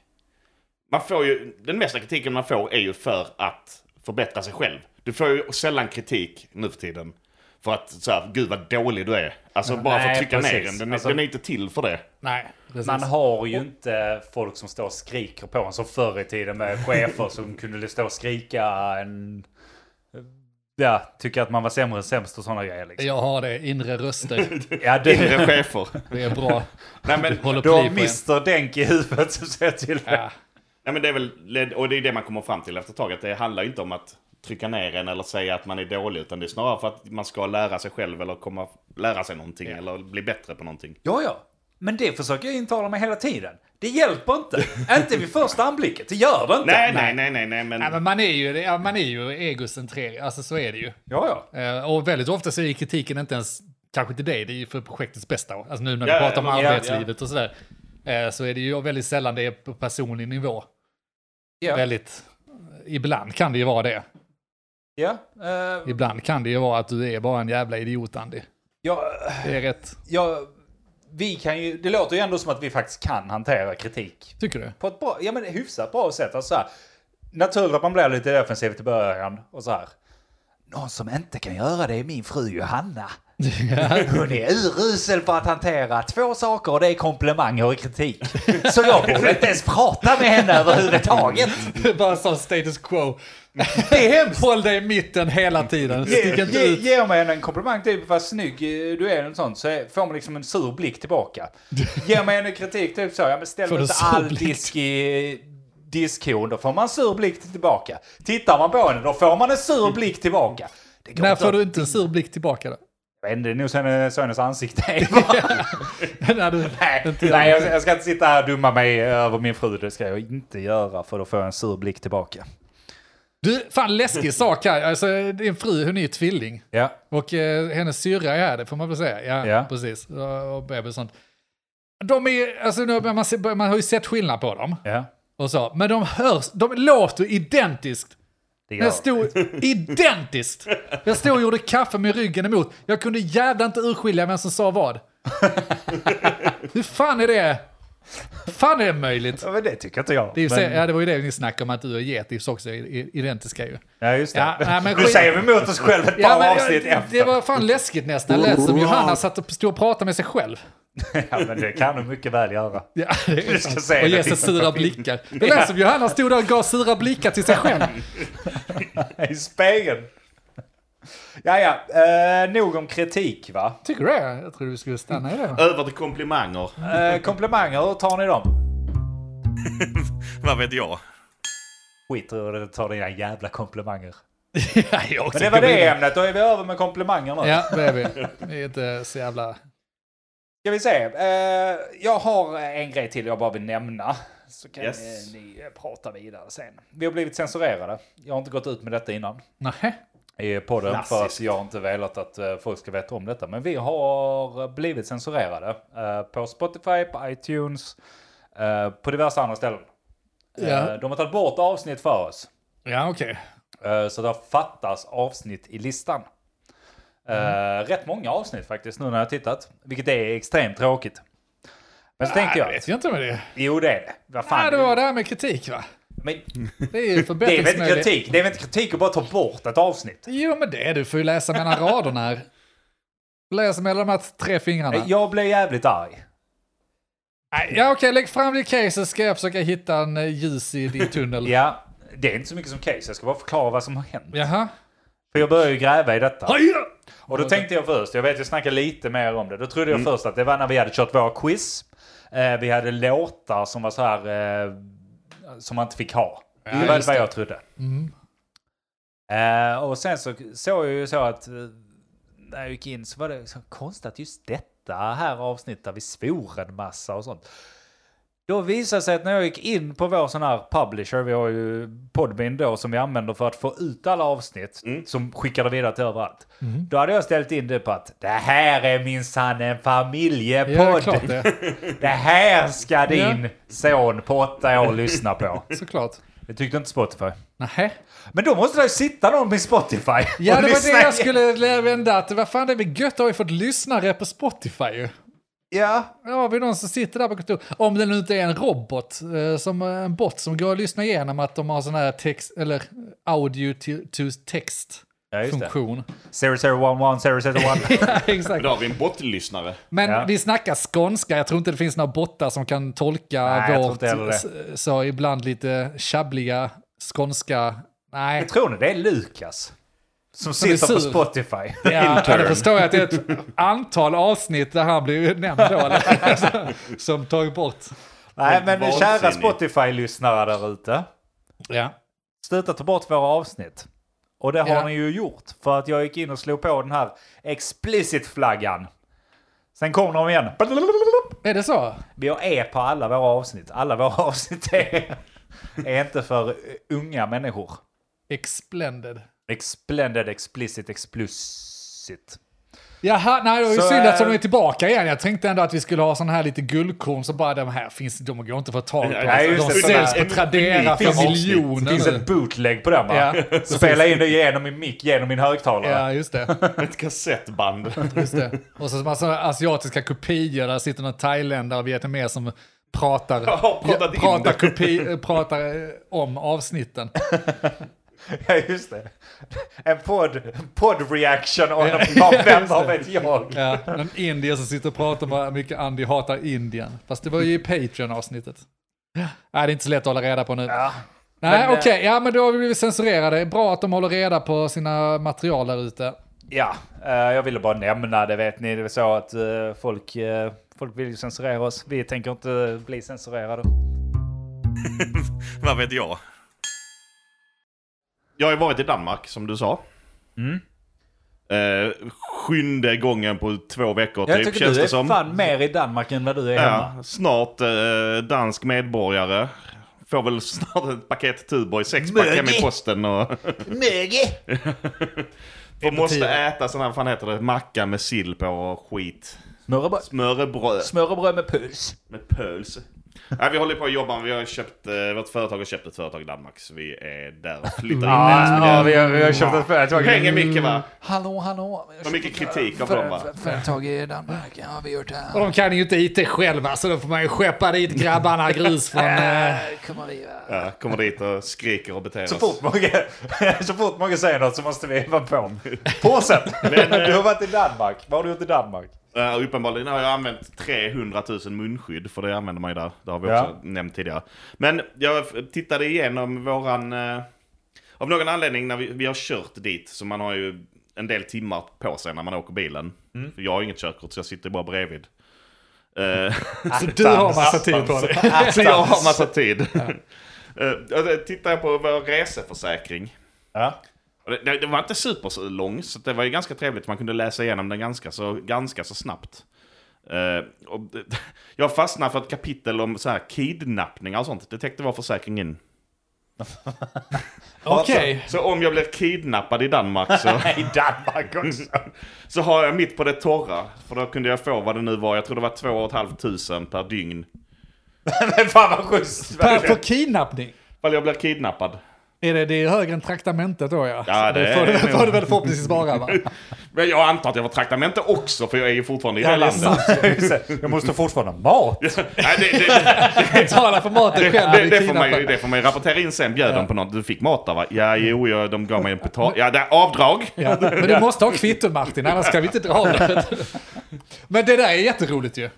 man får ju, den mesta kritiken man får är ju för att förbättra sig själv. Du får ju sällan kritik nu för tiden för att så här, gud vad dålig du är. Alltså bara för att
nej,
trycka ner
precis.
den. Den, är-
Alltså-
den är inte till för det.
Nej, precis.
Man har ju inte folk som står och skriker på en som förr i tiden med chefer som kunde stå och skrika en... Ja, tycka att man var sämre än sämst och sådana grejer.
[LAUGHS]
Liksom.
Jag har det, inre röster.
Ja, du, [LAUGHS]
Inre chefer.
Det är bra.
Nej men,
Håller
du har
pli på en.
Mr Denk i huvudet som säger till dig.
Ja.
nej men det är väl, och det är det man kommer fram till efter ett tag. Att det handlar ju inte om att trycka ner en eller säga att man är dålig. Utan det är snarare för att man ska lära sig själv eller komma, lära sig någonting. Eller bli bättre på någonting.
Ja, ja. Men det försöker jag intala mig hela tiden. Det hjälper [LAUGHS] inte. inte vid första anblicken. Det gör det inte.
Nej, nej, nej, nej, nej, men...
Ja, men man är ju, ja, man är ju egocentrerad, alltså så är det ju.
Ja, ja.
Eh, Och väldigt ofta så är kritiken inte ens, kanske till dig, det är ju för projektets bästa. Alltså nu när vi
Ja,
pratar om
ja,
ja.
arbetslivet och sådär, eh, så är det ju väldigt sällan det är på personlig nivå.
Ja,
Väldigt, eh, ibland kan det ju vara det.
ja. eh,
Ibland kan det ju vara att du är bara en jävla idiot, Andy.
ja.
Det är rätt,
ja, vi kan ju, det låter ju ändå som att vi faktiskt kan hantera kritik
tycker du?
på ett bra, ja, men hyfsat bra sätt. Alltså, så här, naturligt att man blir lite defensiv i början och så här. Någon som inte kan göra det är min fru Johanna. Hon är urusel på att hantera två saker och det är komplimanger och kritik. Så jag borde inte ens prata med henne överhuvudtaget.
[LAUGHS] Bara en sån status quo. Det är hemskt. Håll dig i mitten hela tiden. Stick
Ge,
inte
ge,
ut.
ger man henne en komplimang, typ vad snygg eh, du är och sånt, så är- får man liksom en sur blick tillbaka. Ger man henne kritik, typ så, ja men ställ
Får du
inte
sur
all
blick?
disk i diskhon, då får man en sur blick tillbaka. Tittar man på henne, då får man en sur blick tillbaka. Det går
När
inte
får
att-
du inte en sur blick tillbaka då? [LAUGHS]
Jag vet inte, det är nog så hennes, så hennes ansikte är. va?
När du
Nej,
inte gör
nej jag,
någonting.
jag ska inte sitta här och dumma mig över min fru, det ska jag inte göra, för då får jag en sur blick tillbaka.
Du, fan läskig sak här. Alltså, din fru, hon är ju tvilling.
Ja,
Och eh, hennes syrra är här, det får man väl säga. Ja,
Ja.
precis. Och, och bebis och sånt. De är, alltså nu, börjar man, se, börjar- man har ju sett skillnad på dem.
ja.
Och så, men de hörs, de låter identiskt.
Det gör [LAUGHS]
Jag stod identiskt. Jag stod och gjorde kaffe med ryggen emot. Jag kunde jävla inte urskilja vem som
[LAUGHS]
sa vad. Hur fan är det? fan är det möjligt?
Ja, men det tycker inte jag.
Det, är ju,
men-
ja, det var ju det ni snackade om, att du och Getifs också är i- identiska ju.
Ja, just det.
Ja, nej, men
nu
skit-
säger vi emot oss själva ett par
Ja, men,
avsnitt
det,
efter.
det var fan läskigt nästan. Det lät som Johanna satt och stod och pratade med sig själv.
Ja, men det kan du mycket väl göra.
Ja, det är
Du ska säga
och
det
ge sig
till-
sura blickar. Det lät som Johanna stod där och gav sura blickar till
[LAUGHS]
sig själv.
I spegeln. Ja, ja. Eh, nog om kritik, va?
Tycker du det? Jag tror vi skulle stanna
[LAUGHS]
i det.
Över till komplimanger.
Eh, komplimanger, hur tar ni dem?
Vad vet jag?
Skit i hur du tar dina jävla komplimanger.
Ja, jag
Men
tycker
det var det
vi-
ämnet, då är vi över med komplimanger nu.
Ja, det är vi. Vi är inte så jävla...
Ska vi se. Eh, jag har en grej till jag bara vill nämna. Så kan
Yes.
eh, ni eh, prata vidare sen. Vi har blivit censurerade. Jag har inte gått ut med detta innan.
Nähä.
i podden för att
Klassiskt.
jag har inte velat att eh, folk ska veta om detta. Men vi har blivit censurerade eh, på Spotify, på iTunes, eh, på diverse andra ställen.
Ja.
Eh, De har tagit bort avsnitt för oss.
Ja, okej.
Eh, Så det fattas avsnitt i listan. Eh,
Mm.
Rätt många avsnitt faktiskt nu när jag har tittat. Vilket är extremt tråkigt. Men så tänkte jag,
Nej, vet jag inte om det är.
jo det är det. Vad fan.
Nej, det var det här med kritik va?
men,
Det
[LAUGHS] det
är ju
är väl inte
förbättringsmöjlighet.
kritik? Det är väl inte kritik att bara ta bort ett avsnitt?
Jo, men det är du får ju läsa mellan raderna här. Läs mellan de här tre fingrarna.
Eh, Jag blev jävligt arg.
Nej, Ja, okej, lägg fram ditt case så ska jag försöka hitta en eh, ljus i din tunnel.
Ja, det är inte så mycket som case. Jag ska bara förklara vad som har hänt.
Jaha.
För jag började ju gräva i detta.
Haja!
Och då tänkte jag först, jag vet jag snackade lite mer om det. Då trodde jag först att det var när vi hade kört våra quiz. Eh, vi hade låtar som var så här, eh, som man inte fick ha. det var
just
vad jag trodde. Eh, och sen så såg jag ju så att eh, när jag gick in så var det så konstigt att just detta här avsnitt där vi svor en massa och sånt. Då visade det sig att när jag gick in på vår sån här publisher, vi har ju Podbean då som vi använder för att få ut alla avsnitt som skickar det vidare till överallt.
Mm.
Då hade jag ställt in det på att det här är minsann en familjepodd.
Ja, klart det.
[LAUGHS] Det här ska din son på åtta år lyssna på. [LAUGHS]
Såklart.
Det tyckte inte Spotify.
Nähä.
Men då måste det ju sitta någon på Spotify.
Ja,
och
det var
lyssna
det jag
igen.
skulle vända. Att, vad fan, det är väl gött att vi fått lyssnare på Spotify ju.
Ja,
Ja, har vi någon som sitter där på kontor. Om det nu inte är en robot, eh, som eh, en bot som går att lyssna igenom att de har sån här text, eller audio to, to text
ja just det.
funktion. [LAUGHS]
0011, 001.
ja, exakt.
Då har vi en bottlyssnare.
Men
Ja.
vi snackar skånska, jag tror inte det finns några bottar som kan tolka
Nej, jag tror
vårt
inte heller det.
s- eh, så ibland lite tjabbliga skånska. Nej,
Jag tror ni det är Lukas. Som
är
sitter på
sur.
Spotify.
[LAUGHS] ja, ja, det förstår jag att det är ett antal avsnitt där han blir nämnd då, eller, [LAUGHS] som tagit bort.
Nej, men
Vansinnig.
kära Spotify-lyssnare där ute.
Ja.
Sluta ta bort våra avsnitt. Och det har
Ja.
ni ju gjort. För att jag gick in och slog på den här explicit-flaggan. Sen kom de igen.
Är det så?
Vi har E på alla våra avsnitt. Alla våra [LAUGHS] avsnitt är, är inte för eh, unga människor.
Explended.
Explended, explicit, explicit.
Jaha, nej det var ju
Så,
synd
eh,
att de är tillbaka igen. Jag tänkte ändå att vi skulle ha sån här lite guldkorn som bara de här finns, de går inte att få tag på.
Nej,
just
de
det.
säljs
Sån
på
här-
Tradera
finns-
för
Det
miljoner
finns
nu.
ett bootleg på den va? [LAUGHS]
Ja,
Spela in det genom min mick, genom min högtalare.
Ja, just det.
Ett kassettband.
Just det. Och så massa asiatiska kopior, där sitter någon thailändare och vietnames som pratar,
Ja, pratat in
pratar,
det.
kopi, eh, pratar eh, om avsnitten.
[LAUGHS] Ja, just det. En podd, podd reaction on [LAUGHS] ja, vem vad vet jag.
[LAUGHS] Ja, någon indier som sitter och pratar om hur mycket Andy hatar Indien. Fast det var ju i Patreon-avsnittet. Nej, det är inte så lätt att hålla reda på nu. Nej,
men, eh,
okej, ja men då har vi blivit censurerade. Bra att de håller reda på sina material där ute.
Ja, eh, jag ville bara nämna det vet ni. Det är så att eh, folk, eh, folk vill ju censurera oss. Vi tänker inte bli censurerade.
Vad vet jag?
Jag har ju varit i Danmark, som du sa. Mm. Eh, sjunde gången på två veckor,
Jag
typ,
tycker
känns
du
det
är
som.
fan mer i Danmark än vad du är hemma.
Ja, snart eh, dansk medborgare. Får väl [LAUGHS] snart ett paket Tuborg, sexpack hem i
Mögi.
posten och...
[LAUGHS] Möge!
och måste
tiden.
äta sån här, vad fan heter det, macka med sill på och skit.
Smörrebröd.
Smörrebröd
Smörrebröd med puls.
med pöls. Nej, vi håller på att jobba, vi har köpt, eh, vårt företag har köpt ett företag i Danmark, så vi är där och flyttar in.
Mm. Ja, vi har, vi har köpt ett företag.
Hänger mycket va?
Hallå, hallå.
Det var mycket kritik av dem va?
Företag i Danmark, ja vi har gjort det här.
Och de kan ju inte IT själva, så då får man ju skeppa dit grabbarna
[LAUGHS]
grus från... Eh,
Kommer vi, va?
Ja, kommer dit och skriker och beter
Så
oss.
fort, Mogge, [LAUGHS] så fort Mogge säger något så måste vi vara [LAUGHS] på honom. Påsen! du har varit i Danmark. Vad har du gjort i Danmark?
Eh, uppenbarligen har jag använt 300 000 munskydd, för det använder man ju där. Det har vi
Ja.
också nämnt tidigare. Men jag f- tittade igenom våran... eh, av någon anledning när vi, vi har kört dit, så man har ju en del timmar på sig när man åker bilen. För jag har inget körkort, så jag sitter bara bredvid. Eh,
så Alltså, du har massa tid på det.
[LAUGHS] så jag har massa tid. Eh, och då tittar jag på vår reseförsäkring.
Ja.
Och det- Det, det var inte superlång, så det var ju ganska trevligt. Man kunde läsa igenom den ganska så, ganska så snabbt. Eh, och det, [LAUGHS] jag fastnade för ett kapitel om så här kidnappningar och sånt. Det täckte vår försäkring in.
Okej.
Så om jag blev kidnappad i
[LAUGHS]
Danmark så, [LAUGHS]
I Danmark också.
så har jag mitt på det torra. För då kunde jag få vad det nu var. Jag tror det var två och ett halvt tusen per dygn.
[LAUGHS] Men fan vad schysst.
Per- För kidnappning?
Ifall jag blir kidnappad.
Är det, det är högre än traktamentet då ja.
Ja,
Så
det
får, du,
är-
får du väl förhoppningsvis vara
[LAUGHS]
va?
Men jag antar att jag var traktamente också, för jag är ju fortfarande i
Ja,
det
det är sant.
landet.
Jag måste fortfarande ha mat.
[LAUGHS] Nej, det, det,
Betala för maten själv. Mm.
det,
i
det, får man, ju-
kidnappning.
det får man ju rapportera in sen. Bjöd de på något? Du fick mat där va? Ja, jo, jag, de gav mig en potatis. Ja, det är avdrag.
Ja, [LAUGHS] men du måste ha kvitto Martin, annars kan vi inte dra det. Men det där är jätteroligt ju.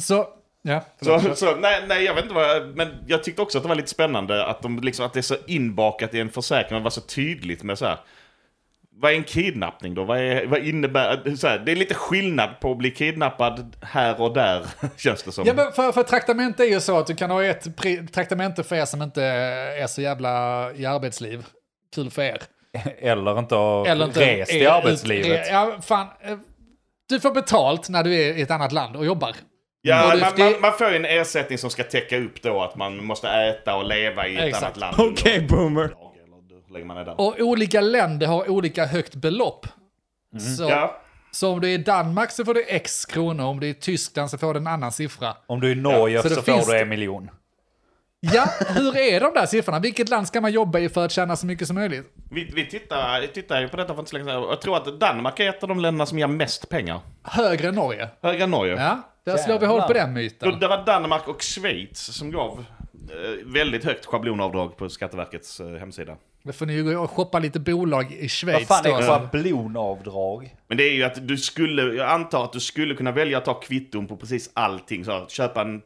Så, ja. [LAUGHS]
Så, så, nej, nej, jag vet inte vad jag, Men jag tyckte också att det var lite spännande att, de liksom, att det är så inbakat i en försäkring. och Det var så tydligt med så här. Vad är en kidnappning då? Vad, är, vad innebär... Så här, det är lite skillnad på att bli kidnappad här och där, [LAUGHS] känns det som.
Ja, men för, för traktamente är ju så att du kan ha ett pri- traktamente för er som inte är så jävla i arbetsliv. Kul för er.
Eller inte ha
Eller inte
rest i
är-
arbetslivet.
är- Ja, fan. eh, Du får betalt när du är i ett annat land och jobbar.
Ja,
Och det-
man,
det-
man, man får ju en ersättning som ska täcka upp då att man måste äta och leva i ett
Exakt.
annat land.
boomer.
Eller hur länge man är där.
Och olika länder har olika högt belopp. Så,
Ja.
så om du är i Danmark så får du x kronor, om du är i Tyskland så får du en annan siffra.
Om du är i Norge
Så
så,
det finns
får du
det.
en miljon.
Ja, hur är de där siffrorna? Vilket land ska man jobba i för att tjäna så mycket som möjligt?
Vi, vi tittar, tittar ju på detta för inte så länge sedan. Jag tror att Danmark är ett av de länderna som ger mest pengar.
Högre än Norge.
Högre än Norge.
Ja. Där slår vi hål på
Jävlar.
den
Då,
myten.
det var Danmark och Schweiz som gav eh, väldigt högt schablonavdrag på Skatteverkets eh, hemsida.
Då får ni ju gå och shoppa lite bolag i
Vad
Schweiz
fan
då.
är schablonavdrag?
Men det är ju att du skulle, jag antar att du skulle kunna välja att ta kvitton på precis allting. Så här, köpa en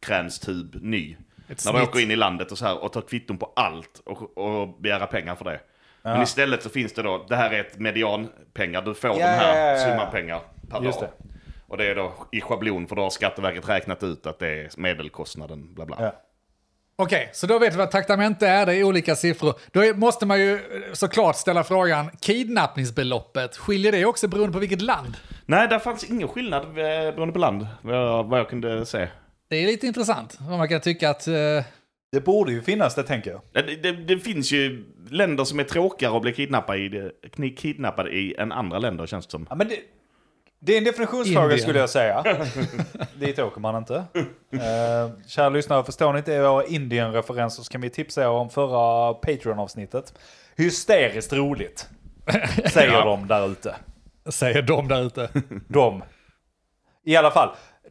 tandkrämstub ny.
Ett
när man
snitt.
åker in i landet och så här och ta kvitton på allt och, och begära pengar för det. Men istället så finns det då, det här är ett medianpengar, du får den här
ja, ja, ja.
summan pengar per
Just
dag.
det.
Och det är då i schablon för då har Skatteverket räknat ut att det är medelkostnaden bla bla.
Ja.
Okej, så då vet vi vad traktamente är, det är olika siffror. Då är- måste man ju eh, såklart ställa frågan, kidnappningsbeloppet, skiljer det också beroende på vilket land?
Nej, där fanns ingen skillnad eh, beroende på land, vad jag, vad jag kunde se.
Det är lite intressant, vad man kan tycka att... eh,
Det borde ju finnas det tänker jag.
Det, det, det finns ju länder som är tråkigare att bli kidnappade i, kni- kidnappade i än andra länder känns det som.
Ja, men det, det är en definitionsfråga
Indien.
skulle jag
[LAUGHS]
säga. Dit åker man inte. Eh, kära lyssnare, förstår ni inte våra Indien-referenser så kan vi tipsa er om förra Patreon-avsnittet. Hysteriskt
[LAUGHS]
roligt, säger
Ja.
de där ute.
Säger de där ute.
De. I alla fall,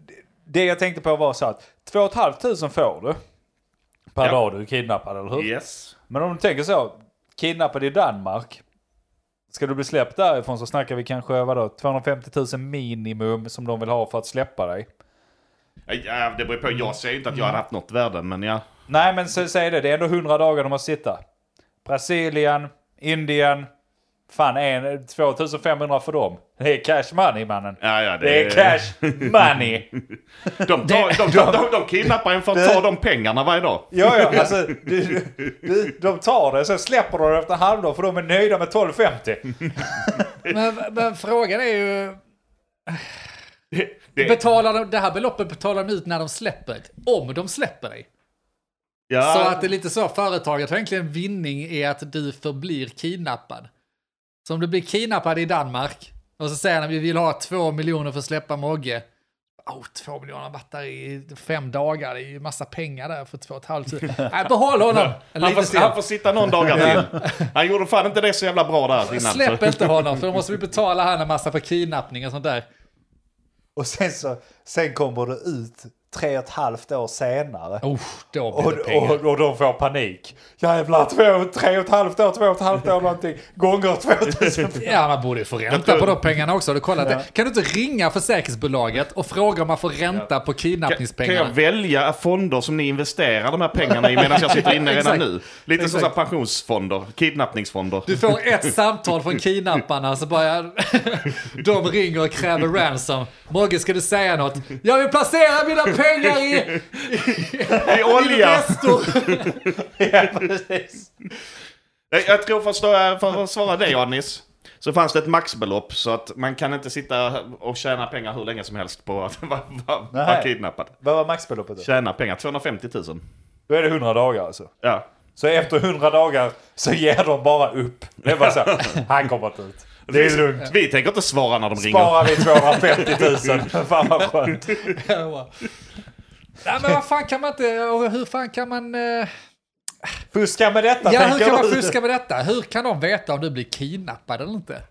det- det jag tänkte på var så att 2 500 får du per
Ja.
dag du är kidnappad, eller hur?
Yes.
Men om du tänker så, kidnappad i Danmark. Ska du bli släppt därifrån så snackar vi kanske vadå, 250 000 minimum som de vill ha för att släppa dig.
Ja, Ja, det beror på, jag säger inte att jag hade haft något värde, men ja.
Nej men så säg det, det är ändå 100 dagar de måste sitta. Brasilien, Indien, fan en, 2500 för dem. Det är cash money mannen.
ja, ja
Det är cash [LAUGHS] money.
De, tar, de, de, de, de kidnappar en för att ta de pengarna varje dag.
Ja, ja, alltså du, du, de tar det, sen släpper de det efter en halvdag för de är nöjda med 1250.
Men, men frågan är ju,
Det,
betalar de, det här beloppet betalar de ut när de släpper, om de släpper dig.
ja,
Så att det är lite så, företaget har egentligen vinning i att du förblir kidnappad. Så om du blir kidnappad i Danmark och så säger han att vi vill ha två miljoner för att släppa Mogge. Oh, två miljoner, han har varit där i fem dagar, det är ju massa pengar där för två och ett halvt
[LAUGHS]
tusen. Nej, behåll honom!
han,
Lite
får,
till.
han får sitta någon dagar till. Han gjorde fan inte det så jävla bra där innan.
Släpp
så.
inte honom, för då måste vi betala han en massa för kidnappning och sånt där.
Och sen så, sen kommer det ut tre och ett halvt år senare.
Oh, då blir
Och,
det pengar.
och, och de får panik. Jävlar, två, tre och ett halvt år, två och ett halvt år någonting. Gånger [LAUGHS] 2000.
Ja, man borde ju få ränta på de pengarna också. Har du kollat det? Kan du inte ringa försäkringsbolaget och fråga om man får ränta på
Kan- Kan
kidnappningspengarna?
jag välja fonder som ni investerar de här pengarna i medan jag sitter inne redan
Exakt.
nu? Lite som
Exakt.
så här pensionsfonder, kidnappningsfonder.
Du får ett samtal från kidnapparna så bara [LAUGHS] de ringer och kräver ransom. Mogge, ska du säga något? Jag vill placera mina pengar i
I olja!
Investor. [LAUGHS]
ja, precis.
Nej, Eh, Jag tror för att, stå, för att svara dig Anis, så fanns det ett maxbelopp så att man kan inte sitta och tjäna pengar hur länge som helst på att [LAUGHS] vara vara- vara
Nej.
kidnappad.
Vad var maxbeloppet då?
Tjäna pengar, 250 000.
Då är det 100 dagar alltså.
Ja.
Så efter 100 dagar så ger de bara upp. Det är bara så [LAUGHS] här, han kommer inte ut. Det är lugnt.
Vi tänker inte svara när de ringer.
Sparar vi 250 000. Fan vad skönt.
Nej, men vad fan kan man inte, och hur fan kan man... eh,
Fuska med detta
Ja, hur
tänker
kan man
du.
fuska med detta? Hur kan de veta om du blir kidnappad eller inte?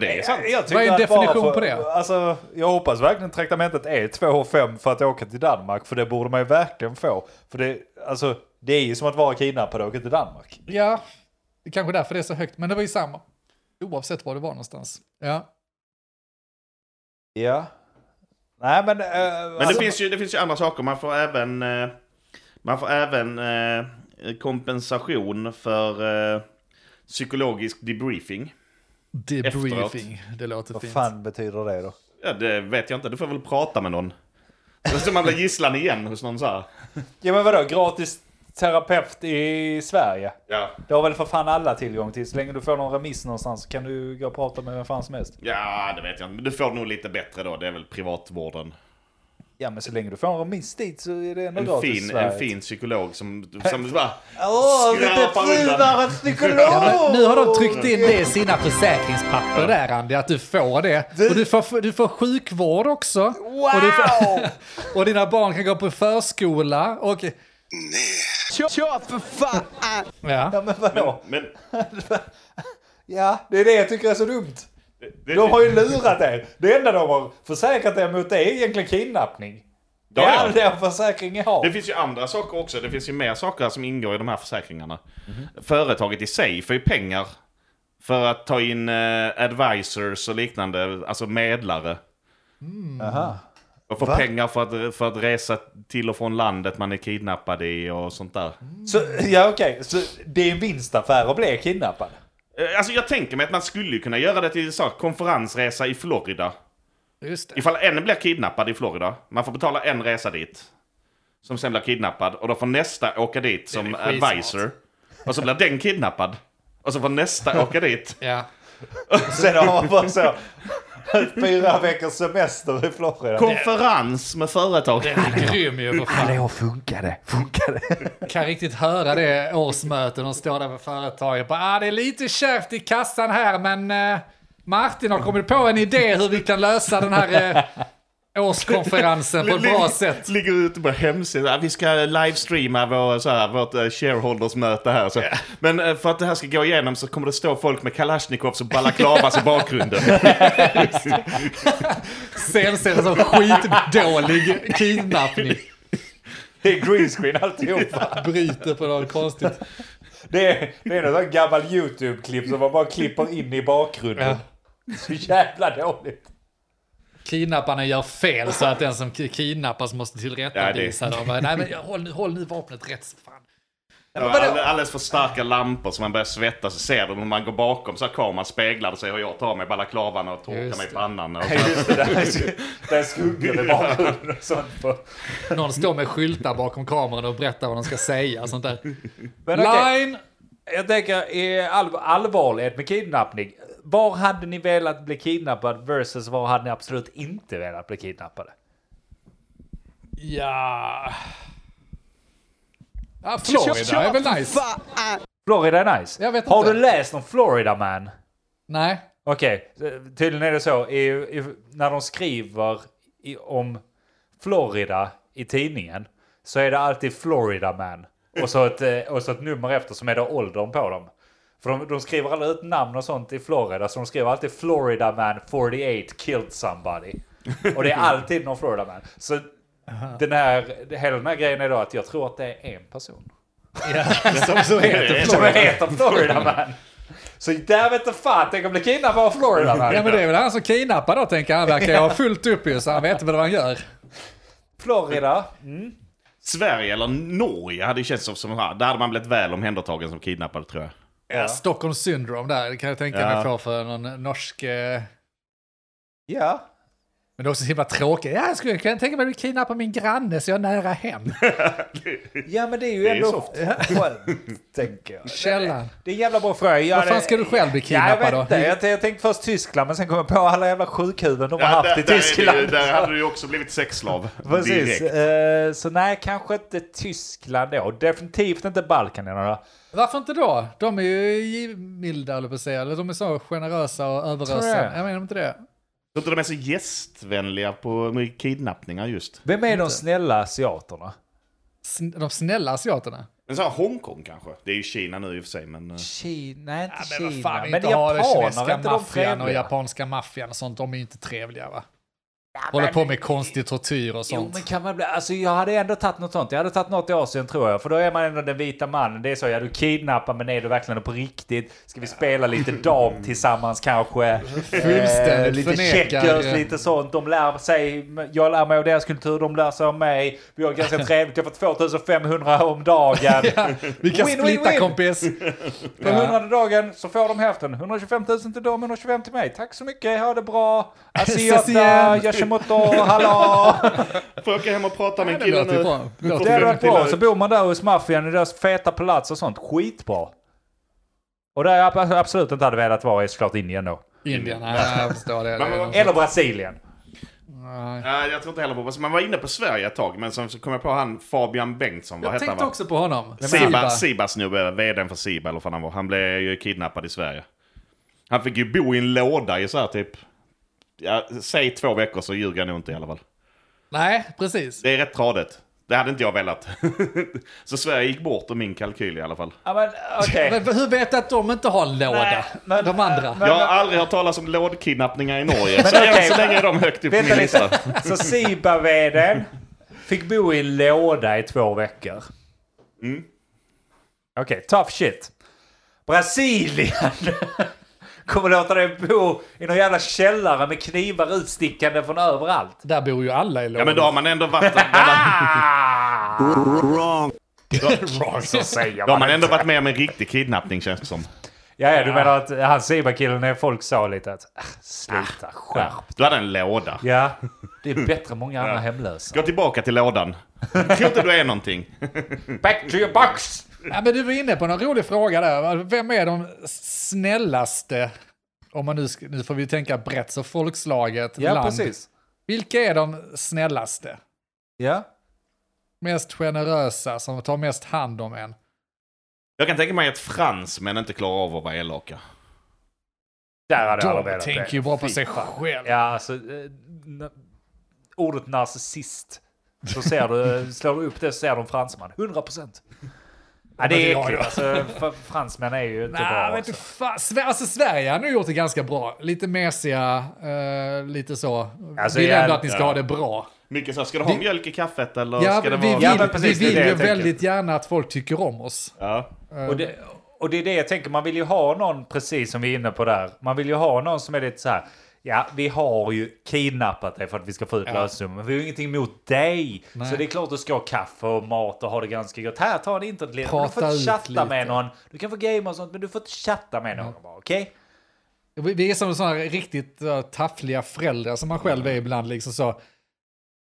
Det är sant.
Jag tycker
Vad är en
att bara
definition
för,
på det?
Alltså, jag hoppas verkligen traktamentet är 2 och 5 för att åka till Danmark. För det borde man ju verkligen få. För det, alltså, det är ju som att vara kidnappad och åka till Danmark.
Ja, det är kanske därför det är så högt, men det var ju samma. Oavsett var det var någonstans. Ja.
Ja. Nej men... eh,
Men det
alltså,
finns, ju, det finns ju andra saker. Man får även, eh, man får även eh, kompensation för eh, psykologisk debriefing.
Debriefing, det låter
Vad
fint.
fan betyder det då?
Ja, det vet jag inte. Du får väl prata med någon. Så- Så man blir gisslan igen hos någon så här.
Ja men vadå, gratis terapeut i Sverige?
Ja.
Det har väl för fan alla tillgång till. Så länge du får någon remiss någonstans så kan du gå och prata med vem fan som helst.
Ja, det vet jag inte. Men du får nog lite bättre då. Det är väl privatvården.
Ja men så länge du får en remiss dit så är det ändå
En
gratis i
fin,
Sverige.
en fin psykolog som, som bara...
Åh, lite
Skrapa undan. [LAUGHS]
finare psykolog!
Ja, men nu har de tryckt in det i sina försäkringspapper där Andy, att du får det. Och du får, du får sjukvård också.
Wow!
Och, du får, [LAUGHS] och dina barn kan gå på förskola och... Nej. Kör för fan! Ja.
Ja men vadå?
Men
Ja, det är det jag tycker är så dumt.
Det-
De har ju lurat er. Det enda de har försäkrat er mot är egentligen kidnappning. Det
Ja, ja.
är all den försäkringen har.
Det finns ju andra saker också. Det finns ju mer saker som ingår i de här försäkringarna. Företaget i sig får ju pengar för att ta in eh, advisors och liknande, alltså medlare.
Aha.
Och få
Va?
pengar för att, för att resa till och från landet man är kidnappad i och sånt där.
Så, ja okej, så det är en vinstaffär att bli kidnappad.
Eh, Alltså jag tänker mig att man skulle ju kunna göra det till så här, konferensresa i Florida.
Just det.
Ifall en blir kidnappad i Florida, man får betala en resa dit. Som sen blir kidnappad och då får nästa åka dit som
väl skitsmart.
advisor. Och så blir den kidnappad. Och så får nästa åka dit.
Ja.
Sen har man bara så fyra veckors semester i Florida.
Konferens med företag.
Den är grym ju för fan.
år funkade, funkade.
Kan riktigt höra det årsmöten. De står där med företaget. Bara, ah, det är lite kärvt i kassan här men eh, Martin har kommit på en idé hur vi kan lösa den här eh, årskonferensen på ett bra sätt.
Ligger ute på hemsidan. Vi ska livestreama vår, så här, vårt eh, shareholders-möte här. Så. Men eh, för att det här ska gå igenom så kommer det stå folk med kalasjnikovs och balaklavas i bakgrunden.
CMC som skitdålig kidnappning.
Det är green screen alltihopa.
[LAUGHS] Bryter på något konstigt.
Det är, det är något sånt gammalt YouTube-klipp som man bara klipper in i bakgrunden. Så jävla
[LAUGHS]
dåligt.
Kidnapparna gör fel så att den som ki- kidnappas måste tillrättavisa
Ja,
dem. Nej men jag- håll nu, håll nu vapnet rätt så fan.
Och all- Alldeles för starka lampor som man börjar svettas så ser de när man går bakom så här kameran speglar sig och jag tar mig balaklavan och torkar
Just
mig i
det.
pannan. Och
Nej, Just det, där är sk- där är skuggor i bakgrunden och sånt. På.
Någon står med skyltar bakom kameran och berättar vad de ska säga och sånt där.
Men okej,
Line!
jag tänker i all, allvarlighet med kidnappning. Var hade ni velat bli kidnappad versus var hade ni absolut inte velat bli kidnappade?
Ja... Ja, Florida är väl nice?
Florida är nice.
Jag vet
Har
inte.
du läst om Florida man?
Nej.
Okej, tydligen är det så. I, i, när de skriver i, om Florida i tidningen så är det alltid Florida man. Och så ett, eh, och så ett nummer efter som är då åldern på dem. För de, de skriver aldrig ut namn och sånt i Florida, så de skriver alltid Florida man 48 killed somebody. Och det är alltid någon Florida man. Så den här, hela den här grejen är då att jag tror att det är en person.
Som så
[LAUGHS]
heter
Som heter Florida man. Så där vet inte fan, tänk om det kidnappar Florida man.
[LAUGHS] Ja men det är väl han som kidnappar då tänker jag. han. Verkar ju ha fullt upp ju så han vet väl vad han gör.
Florida.
Sverige eller Norge hade ju känts som, som här. Där hade man blivit väl omhändertagen som kidnappad tror jag.
Ja.
Stockholms syndrom där, det kan jag tänka mig
Ja.
få för någon norsk... eh,
Ja.
Men det är också så himla tråkigt. Ja, jag skulle kunna tänka mig att bli kidnappad av min granne så jag är nära hem.
ja, men det är ju
Det är
ändå
[LAUGHS]
skönt, tänker jag.
Källan.
Det är en jävla bra fråga. Ja,
Vad fan
det-
ska du själv bli kidnappad
ja, jag vet
då?
Inte. Jag, jag tänkte först Tyskland, men sen kom jag på alla jävla sjukhuvuden de har haft i
där, är
Tyskland.
det ju- där hade du ju också blivit sexslav.
[LAUGHS] Precis.
direkt.
Eh, så nej, kanske inte Tyskland då. Definitivt inte Balkan. Då.
Varför inte då? De är ju milda, eller på att säga. Eller De är så generösa och
Tror jag.
överösa. Jag menar inte det.
Jag tror inte de är så gästvänliga på med kidnappningar just.
Vem är de snälla asiaterna?
Sn- De snälla asiaterna.
Men så här Hongkong kanske. Det är ju Kina nu i och för sig men... eh,
Kina? Nej, inte
men vad
Kina.
fan,
men
inte ha den
japaner, är
kinesiska
inte de
maffian och
trevliga?
japanska maffian och sånt. De är ju inte trevliga va? Håller på med konstig tortyr och
Jo,
sånt.
men kan man bli... Alltså jag hade ändå tagit något sånt. Jag hade tagit något i Asien tror jag. För då är man ändå den vita mannen. Det är så, ja du kidnappar men är du verkligen på riktigt? Ska vi spela lite dam tillsammans kanske?
Mm.
Eh,
Fullständigt
lite
förnekar.
checkers, lite sånt. De lär sig... Jag lär mig av deras kultur, de lär sig av mig. Vi har
[LAUGHS]
ganska trevligt, jag får 2500 om dagen.
Vi kan
Win, win,
splitta
win.
kompis.
På hundrade dagen så får de hälften. 125 000 till dem, 125 till mig. Tack så mycket, ha det bra.
Ses igen.
Asiata, Yoshimoto, hallå!
Får jag åka hem och prata med en
Det
kille
låter ju
nu?
bra. Det låter
Det hade
ju-
varit bra. Så bor man där hos maffian i deras feta palats och sånt. Skitbra. Och där jag ab- absolut inte hade velat vara är såklart Indien då.
Indien, Mm. nej jag förstår det. det.
Men
är
vad-
de-
Eller Brasilien.
Nej.
Nej, jag tror inte heller på det. Man var inne på Sverige ett tag, men sen så kom jag på han Fabian Bengtsson. Vad
Jag
hette han?
tänkte
va?
också på honom.
Siba, Siba-snubbe, vdn för Siba eller vad fan han var. Han blev ju kidnappad i Sverige. Han fick ju bo i en låda i så här typ... Ja, säg två veckor så ljuger jag nog inte i alla fall.
Nej, precis.
Det är rätt tradigt. Det hade inte jag velat. [LAUGHS] så Sverige gick bort ur min kalkyl i alla fall.
Ja, men okej.
Men hur vet du att de inte har en låda?
Nej, men-
de andra?
men-
jag har aldrig hört talas om lådkidnappningar i Norge. så
okej.
än så länge är de högt upp på
Vänta
min lista.
lite. Så Sibaveden fick bo i en låda i två veckor. Mm. Okej, tough shit. Brasilien [LAUGHS] kommer låta dig bo i någon jävla källare med knivar utstickande från överallt.
Där bor ju alla i lådan.
Ja men då har man
[LAUGHS]
ändå varit där.
Ah!
[LAUGHS] Då-
Så säger
Då har man
man.
ändå varit med om en riktig kidnappning känns det som.
Ja, ja, du menar att han Sibakillen är folk sa lite att "Ah, sluta, skärp
Du hade en låda.
Ja, det är bättre än många andra hemlösa.
Gå tillbaka till lådan. Tror inte du är någonting.
Back to your box!
Ja, men du var inne på någon rolig fråga där. Vem är de snällaste? Om man nu, sk- nu får vi tänka brett, så folkslaget,
Ja,
land.
precis.
Vilka är de snällaste?
Ja.
Mest generösa, som tar mest hand om en?
Jag kan tänka mig att fransmän inte klarar av att vara elaka.
Där hade jag
De
velat
tänker ju bara på sig själv.
Ja, alltså... eh, na- Ordet narcissist. Så ser du, eh, slår du upp det så ser du en fransman. 100 procent. Ja, det är
Ja,
äckligt.
ja.
Alltså, f- fransmän är ju inte
Nej,
bra.
vet du
Alltså.
fan. Sve- Alltså, Sverige har nu gjort det ganska bra. Lite mesiga, eh, lite så.
Alltså,
vill ändå
jag-
att ni ska
ja.
ha det bra.
Mycket så här, ska du ha
Vi-
mjölk i kaffet eller
Ja,
ska
vi
det
vi
vara...
vill,
Ja, men precis,
vi
det är
vill
det
ju
jag tänker.
väldigt gärna att folk tycker om oss.
Ja.
Och det, och det är det jag tänker. Man vill ju ha någon, precis som vi är inne på där. Man vill ju ha någon som är lite så här. Ja, vi har ju kidnappat dig för att vi ska få ut lösensumman. Men vi har ju ingenting emot dig.
Nej.
Så det är klart du ska ha kaffe och mat och ha det ganska gött. Här, ta en internetledare. Du
Prata
får inte
ut
chatta
lite. Mm.
med någon. Du kan få game och sånt, men du får inte chatta med någon. bara, Okej?
Vi vi är som sådana riktigt eh, taffliga föräldrar som man själv är ibland. Liksom så.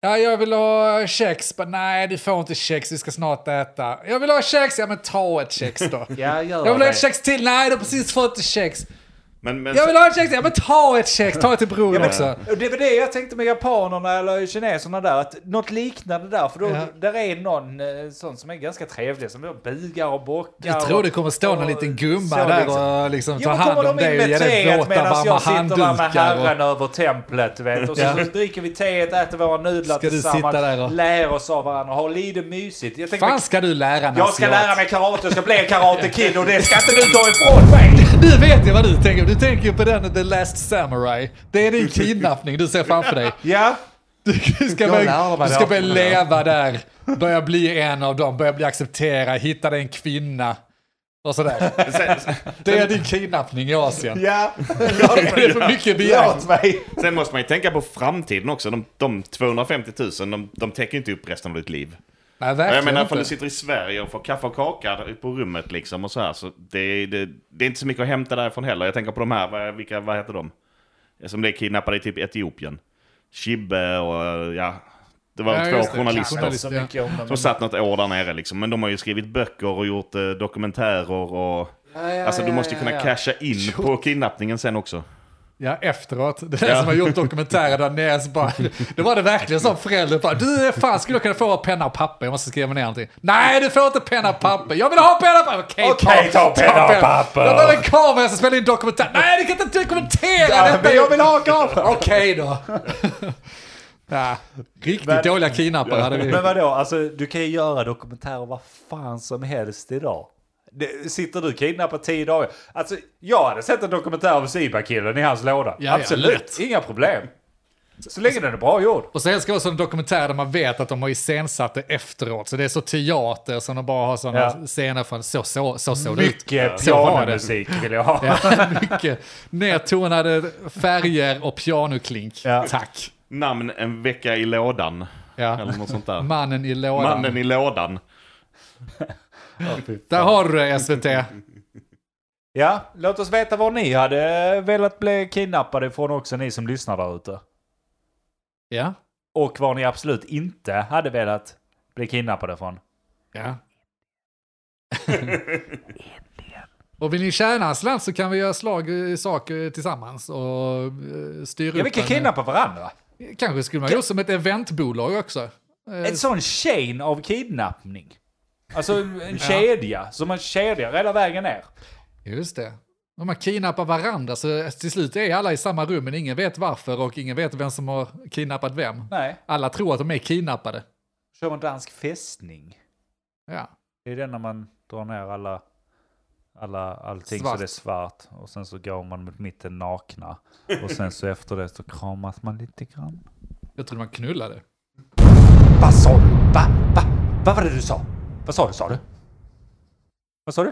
Ja, jag vill ha kex. Men nej, du får inte kex. Vi ska snart äta. Jag vill ha kex. Ja, men ta ett kex då.
[LAUGHS] Ja, gör
Jag vill ha
det.
ett kex till. Nej, du har precis fått ett kex.
Men, men,
Jag vill ha ett kex. Ja, men ta ett kex. Ta ett till bror också.
Och Det var det jag tänkte med japanerna eller kineserna där, att något liknande där, för då,
Ja.
där är någon eh, sån som är ganska trevlig, som då bugar och bockar.
Jag tror
och-
det kommer stå någon liten gumma
så
där
liksom.
och liksom
Jo,
ta
men
hand om
kommer de in
dig och ge
med
dig
teet
våta,
medan
varma
jag sitter där med
handdukar.
herren
Och...
över templet, du vet. Och så,
Ja.
så dricker vi teet, äter våra nudlar
Ska du
tillsammans,
sitta där och-
lär oss av varandra, har lite mysigt. Jag, tänker,
Fan ska du lära en
jag ska
asiat?
lära mig karate, jag ska bli en karate-kid och det ska inte du ta ifrån mig!
Nu vet jag vad du tänker. Du tänker ju på den The Last Samurai.
[LAUGHS]
Det är din kidnappning du ser framför dig.
Ja,
Du ska
lärde
börja,
mig
du
det
ska
också.
börja leva där, börja bli en av dem, börja bli accepterad, hitta dig en kvinna. Och sådär.
sen, sen-
Det är din kidnappning i Asien.
ja.
Det är för mycket begärt.
Låt mig.
sen måste man ju tänka på framtiden också. De, de 250 000, de, de täcker ju inte upp resten av ditt liv.
Nej,
Ja, Jag
verkligen
menar, om du
inte.
sitter i Sverige och får kaffe och kaka där på rummet liksom och så här, så det, det, det är inte så mycket att hämta därifrån heller. Jag tänker på de här, vad- vilka, vad heter de? Som blev kidnappade i typ Etiopien. Chibbe och, ja, det var
Ja,
två
just det.
journalister.
Journalist,
Så
ja.
mycket om dem.
Som satt något år där nere liksom. Men de har ju skrivit böcker och gjort eh, dokumentärer och...
ja,
alltså du
ja,
måste ju
ja,
kunna
ja.
casha in på kidnappningen sen också.
Ja, efteråt. Det är
Ja.
som har gjort dokumentärer där nere. så Bara, då var det verkligen som förälder. Bara, du, fan skulle jag kunna få penna och papper? Jag måste skriva ner någonting. Nej, du får inte penna och papper. Jag vill ha penna och papper. Okej,
Okej, ta penna och papper.
Jag behöver en kamera som spelar in dokumentär. Nej, du kan inte dokumentera
Ja,
detta.
men jag vill ha kameran.
[LAUGHS]
[LAUGHS]
Okej då. Ja, riktigt
Men-
dåliga kidnappare hade vi.
Men vadå, alltså du kan ju göra dokumentärer vad fan som helst idag. Det, sitter du kidnappad tio dagar? Alltså jag hade sett en dokumentär om Siba-killen i hans låda.
ja,
Absolut,
lätt.
inga problem. Så länge den är bra gjord.
Och sen ska det vara sån dokumentär där man vet att de har iscensatt det efteråt. Så det är så teater som de bara har sådana
Ja.
scener från. Så, så, så såg det ut.
Mycket
Så var det.
pianomusik vill jag ha. Ja.
Ja, [LAUGHS] mycket nedtonade färger och pianoklink.
Ja.
Tack.
Namn en vecka i lådan.
Ja.
Eller något sånt där.
Mannen i lådan.
Mannen i lådan.
Där har du det SVT.
låt oss veta var ni hade velat bli kidnappade ifrån också, ni som lyssnar där ute.
Ja.
Och var ni absolut inte hade velat bli kidnappade från.
ja. [LAUGHS] Och vill ni tjäna en slant så kan vi göra slag i sak eh, tillsammans och eh, styra
Ja,
upp
vi kan
en- eh,
kidnappa varandra.
Kanske skulle man göra som ett eventbolag också. Eh,
En sån chain av kidnappning. Alltså en kedja, som en kedja hela vägen ner.
Just det. Om man kidnappar varandra så eh, till slut är alla i samma rum men ingen vet varför och ingen vet vem som har kidnappat vem.
Nej.
Alla tror att de är kidnappade.
kör man dansk fästning.
Ja.
Det är den när man drar ner alla, alla, allting så
Svart.
det är svart. Och sen så går man mot mitten nakna. Och sen så efter det så kramas man lite grann.
Jag trodde man knullade.
Vad sa du? Va? Va? Vad var det du sa? Vad sa du? Sa du? Vad sa du?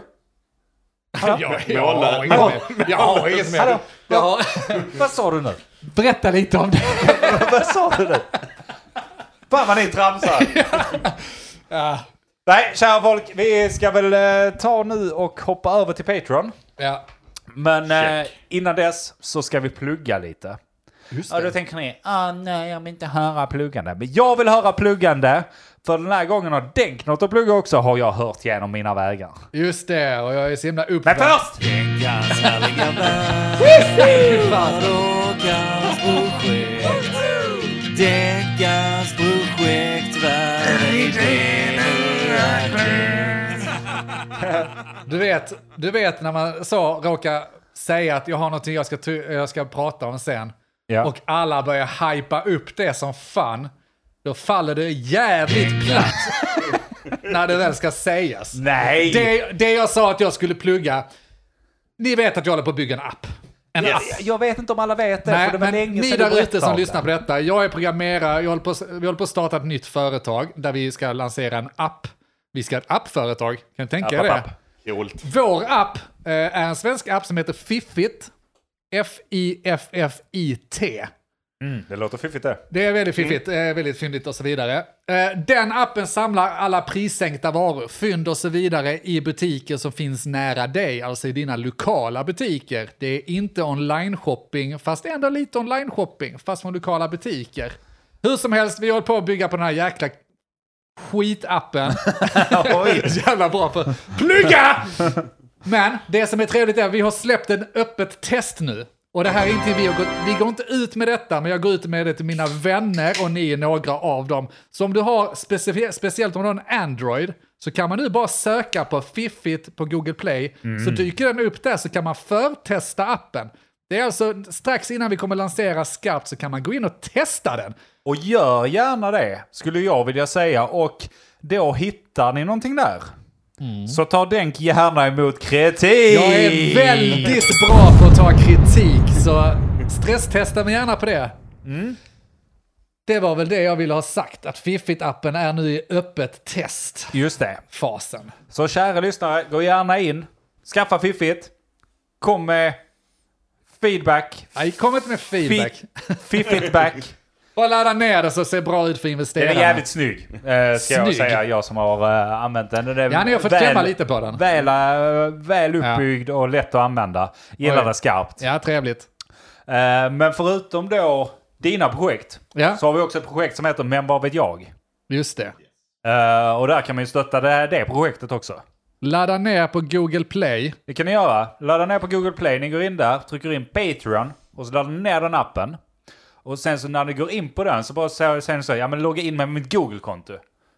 Jag,
Måla-
har inget med. Jag har inget med.
Hallå?
Jag har...
Vad sa du nu?
Berätta lite om det.
Vad sa du nu? Fan vad ni
[LAUGHS]
tramsar!
Ja.
Nej, kära folk, vi ska väl eh, ta nu och hoppa över till Patreon.
ja.
Men eh, innan dess så ska vi plugga lite.
Just
Ja, då tänker ni, ah, nej jag vill inte höra pluggande. Men jag vill höra pluggande! För den här gången har Denk något att plugga också, har jag hört genom mina vägar.
Just det, och jag är så himla
Men
uppvärmd.
först!
Veckans härliga värld. Frågans projekt. Deckans projekt. Vad är det nu aktuellt?
Du vet, du vet när man så råkar säga att jag har någonting jag ska, ty- jag ska prata om sen.
Ja.
Och alla börjar hypa upp det som fan. Då faller det jävligt platt. när det väl ska sägas.
Nej!
Det, det jag sa att jag skulle plugga. Ni vet att jag håller på att bygga en app. En app.
Jag- Jag vet inte om alla vet det, för det var
men
länge
ni
sedan du
där ute
berättade
som
om
lyssnar
det.
på detta, jag är programmerare, jag håller, på, vi håller på att starta ett nytt företag där vi ska lansera en app. Vi ska ha ett appföretag, kan ni tänka er
App,
det?
app, app.
Coolt.
Vår app eh, är en svensk app som heter Fiffit. F-I-F-F-I-T.
Det låter fiffigt det.
Det är väldigt fiffigt, eh, väldigt fyndigt och så vidare. Eh, Den appen samlar alla prissänkta varor, fynd och så vidare i butiker som finns nära dig, alltså i dina lokala butiker. Det är inte online-shopping, fast ändå lite online-shopping, fast från lokala butiker. Hur som helst, vi håller på att bygga på den här jäkla skitappen.
Oj.
Så [LAUGHS] jävla bra för plugga! Men det som är trevligt är att vi har släppt en öppet test nu. Och det här är inte vi, har gått, vi går inte ut med detta, men jag går ut med det till mina vänner och ni är några av dem. Så om du har, specif- speciellt om du har en Android, så kan man nu bara söka på Fiffit på Google Play. Så dyker den upp där så kan man förtesta appen. Det är alltså strax innan vi kommer lansera skarpt så kan man gå in och testa den.
Och gör gärna det, skulle jag vilja säga. Och då hittar ni någonting där. Så ta Denk gärna emot kritik!
Mm. Jag är väldigt bra på att ta kritik, så stresstesta mig gärna på det.
Mm.
Det var väl det jag ville ha sagt, att Fiffit-appen är nu i öppet testfasen.
Just det. Så kära lyssnare, gå gärna in. Skaffa fiffigt. Kom med feedback.
Nej, kom inte med feedback.
Fi- fiffigt back.
Bara ladda ner det så ser bra ut för
Den
investerarna.
är jävligt snygg, eh, ska jag
Snygg.
säga, jag som har eh, använt den. den är
Ja, ni har fått klämma lite på den.
Väl, eh, väl uppbyggd och lätt att använda. Gillar
Oj.
det skarpt.
Ja, trevligt.
Eh, men förutom då dina projekt,
Ja.
så har vi också ett projekt som heter Men vad vet jag?
Just det.
Eh, och där kan man ju stötta det, det projektet också.
Ladda ner på Google Play.
Det kan ni göra. Ladda ner på Google Play. Ni går in där, trycker in Patreon och så laddar ni ner den appen. Och sen så när ni går in på den så bara säger säger ni så här, ja men logga in med mitt Google-konto.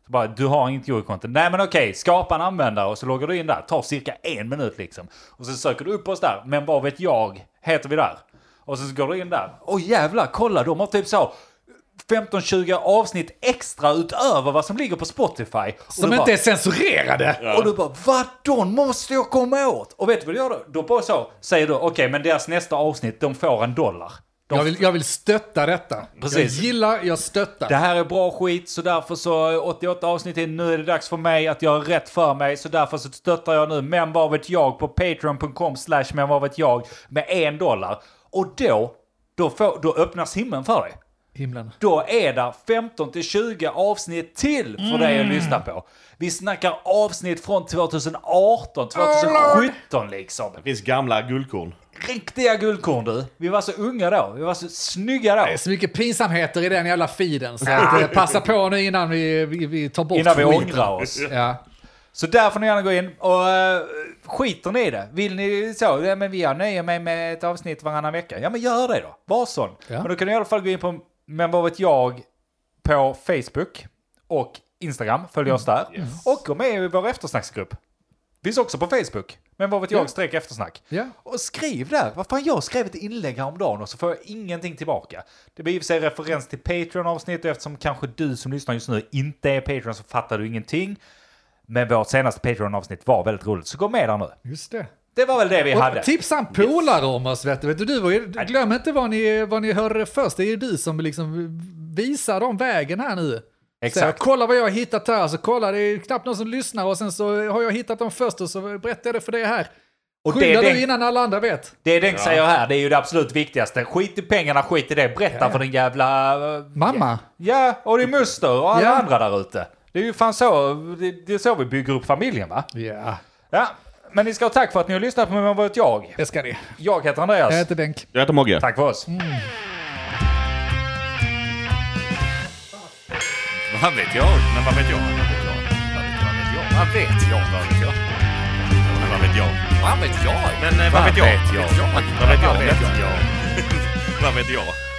Så bara, du har inget Google-konto. Nej men okej, skapa en användare och så loggar du in där. Tar cirka en minut liksom. Och så söker du upp oss där, men vad vet jag, heter vi där. Och sen så går du in där. Åh jävlar, kolla de har typ så 15-20 avsnitt extra utöver vad som ligger på Spotify. Och
Som
du bara-
inte är censurerade.
och du bara vad de måste jag komma åt? Och vet du vad du gör då? Då bara så säger du okej men deras nästa avsnitt de får en dollar. De,
Jag vill, jag vill stötta detta.
Precis.
Jag gillar, jag stöttar.
Det här är bra skit så därför så 88 avsnitt in nu är det dags för mig att göra rätt för mig så därför så stöttar jag nu men vad vet jag på patreon.com slash men vad vet jag med en dollar. Och då, då, får, då öppnas himlen för dig.
Himlen.
Då är det 15 till 20 avsnitt till för dig att lyssna på. Vi snackar avsnitt från 2018, 2017 liksom.
Det finns gamla guldkorn.
riktiga guldkorn du. Vi var så unga då. Vi var så snygga då.
Det är så mycket pinsamheter i den jävla feeden, så
[LAUGHS]
att, eh, passa på nu innan vi, vi, vi tar bort
Innan vi
skiten.
ångrar oss.
Ja.
Så där får ni gärna gå in och uh, skiter ni i det. Vill ni så, ja, men jag nöjer mig med ett avsnitt varannan vecka. Ja men gör det då. Var sån.
Ja.
Men då kan ni i alla fall gå in på Men vad vet jag på Facebook
Mm.
och Instagram. Följ oss där. Och gå med i vår eftersnacksgrupp. Finns också på Facebook. Men Men vad vet jag, streck eftersnack.
Ja.
Och skriv där. Vad fan, jag skrev ett inlägg häromdagen och så får jag ingenting tillbaka. Det blir i och för sig referens till Patreon-avsnittet och eftersom kanske du som lyssnar just nu inte är Patreon så fattar du ingenting. Men vårt senaste Patreon-avsnitt var väldigt roligt, så gå med där nu.
Just det.
Det var väl det vi hade.
Och tipsa en polare om oss, vet du. Vet du, du var ju, glöm inte vad ni, vad ni hörde först. Det är ju du som liksom visar dem vägen här nu.
Exakt.
Så, kolla vad jag har hittat här. Så kolla, det är knappt någon som lyssnar och sen så har jag hittat dem först och så berättar jag det för dig här.
Och det,
Skynda
är
du
det,
innan alla andra vet.
det Denk säger här, det är ju det absolut viktigaste. Skit i pengarna, skit i det. Berätta för din jävla... eh,
Mamma.
Ja, och din moster och alla
Ja.
andra där ute. Det är ju fan så, det, det är så vi bygger upp familjen va?
Ja,
Ja, men ni ska ha tack för att ni har lyssnat på Vad vet jag?
det ska ni.
Jag heter Andreas.
Jag heter Mm. Bengt.
Jag heter Mogge.
Tack för oss.
Vad vet jag? Men vad vet jag? Vad vet jag? Vad vet jag? Vad vet jag? Men vad vet jag? Vad vet jag? [LAUGHS] Men eh, vad vet jag? Vad vet jag? Vad vet jag? Vad vet jag?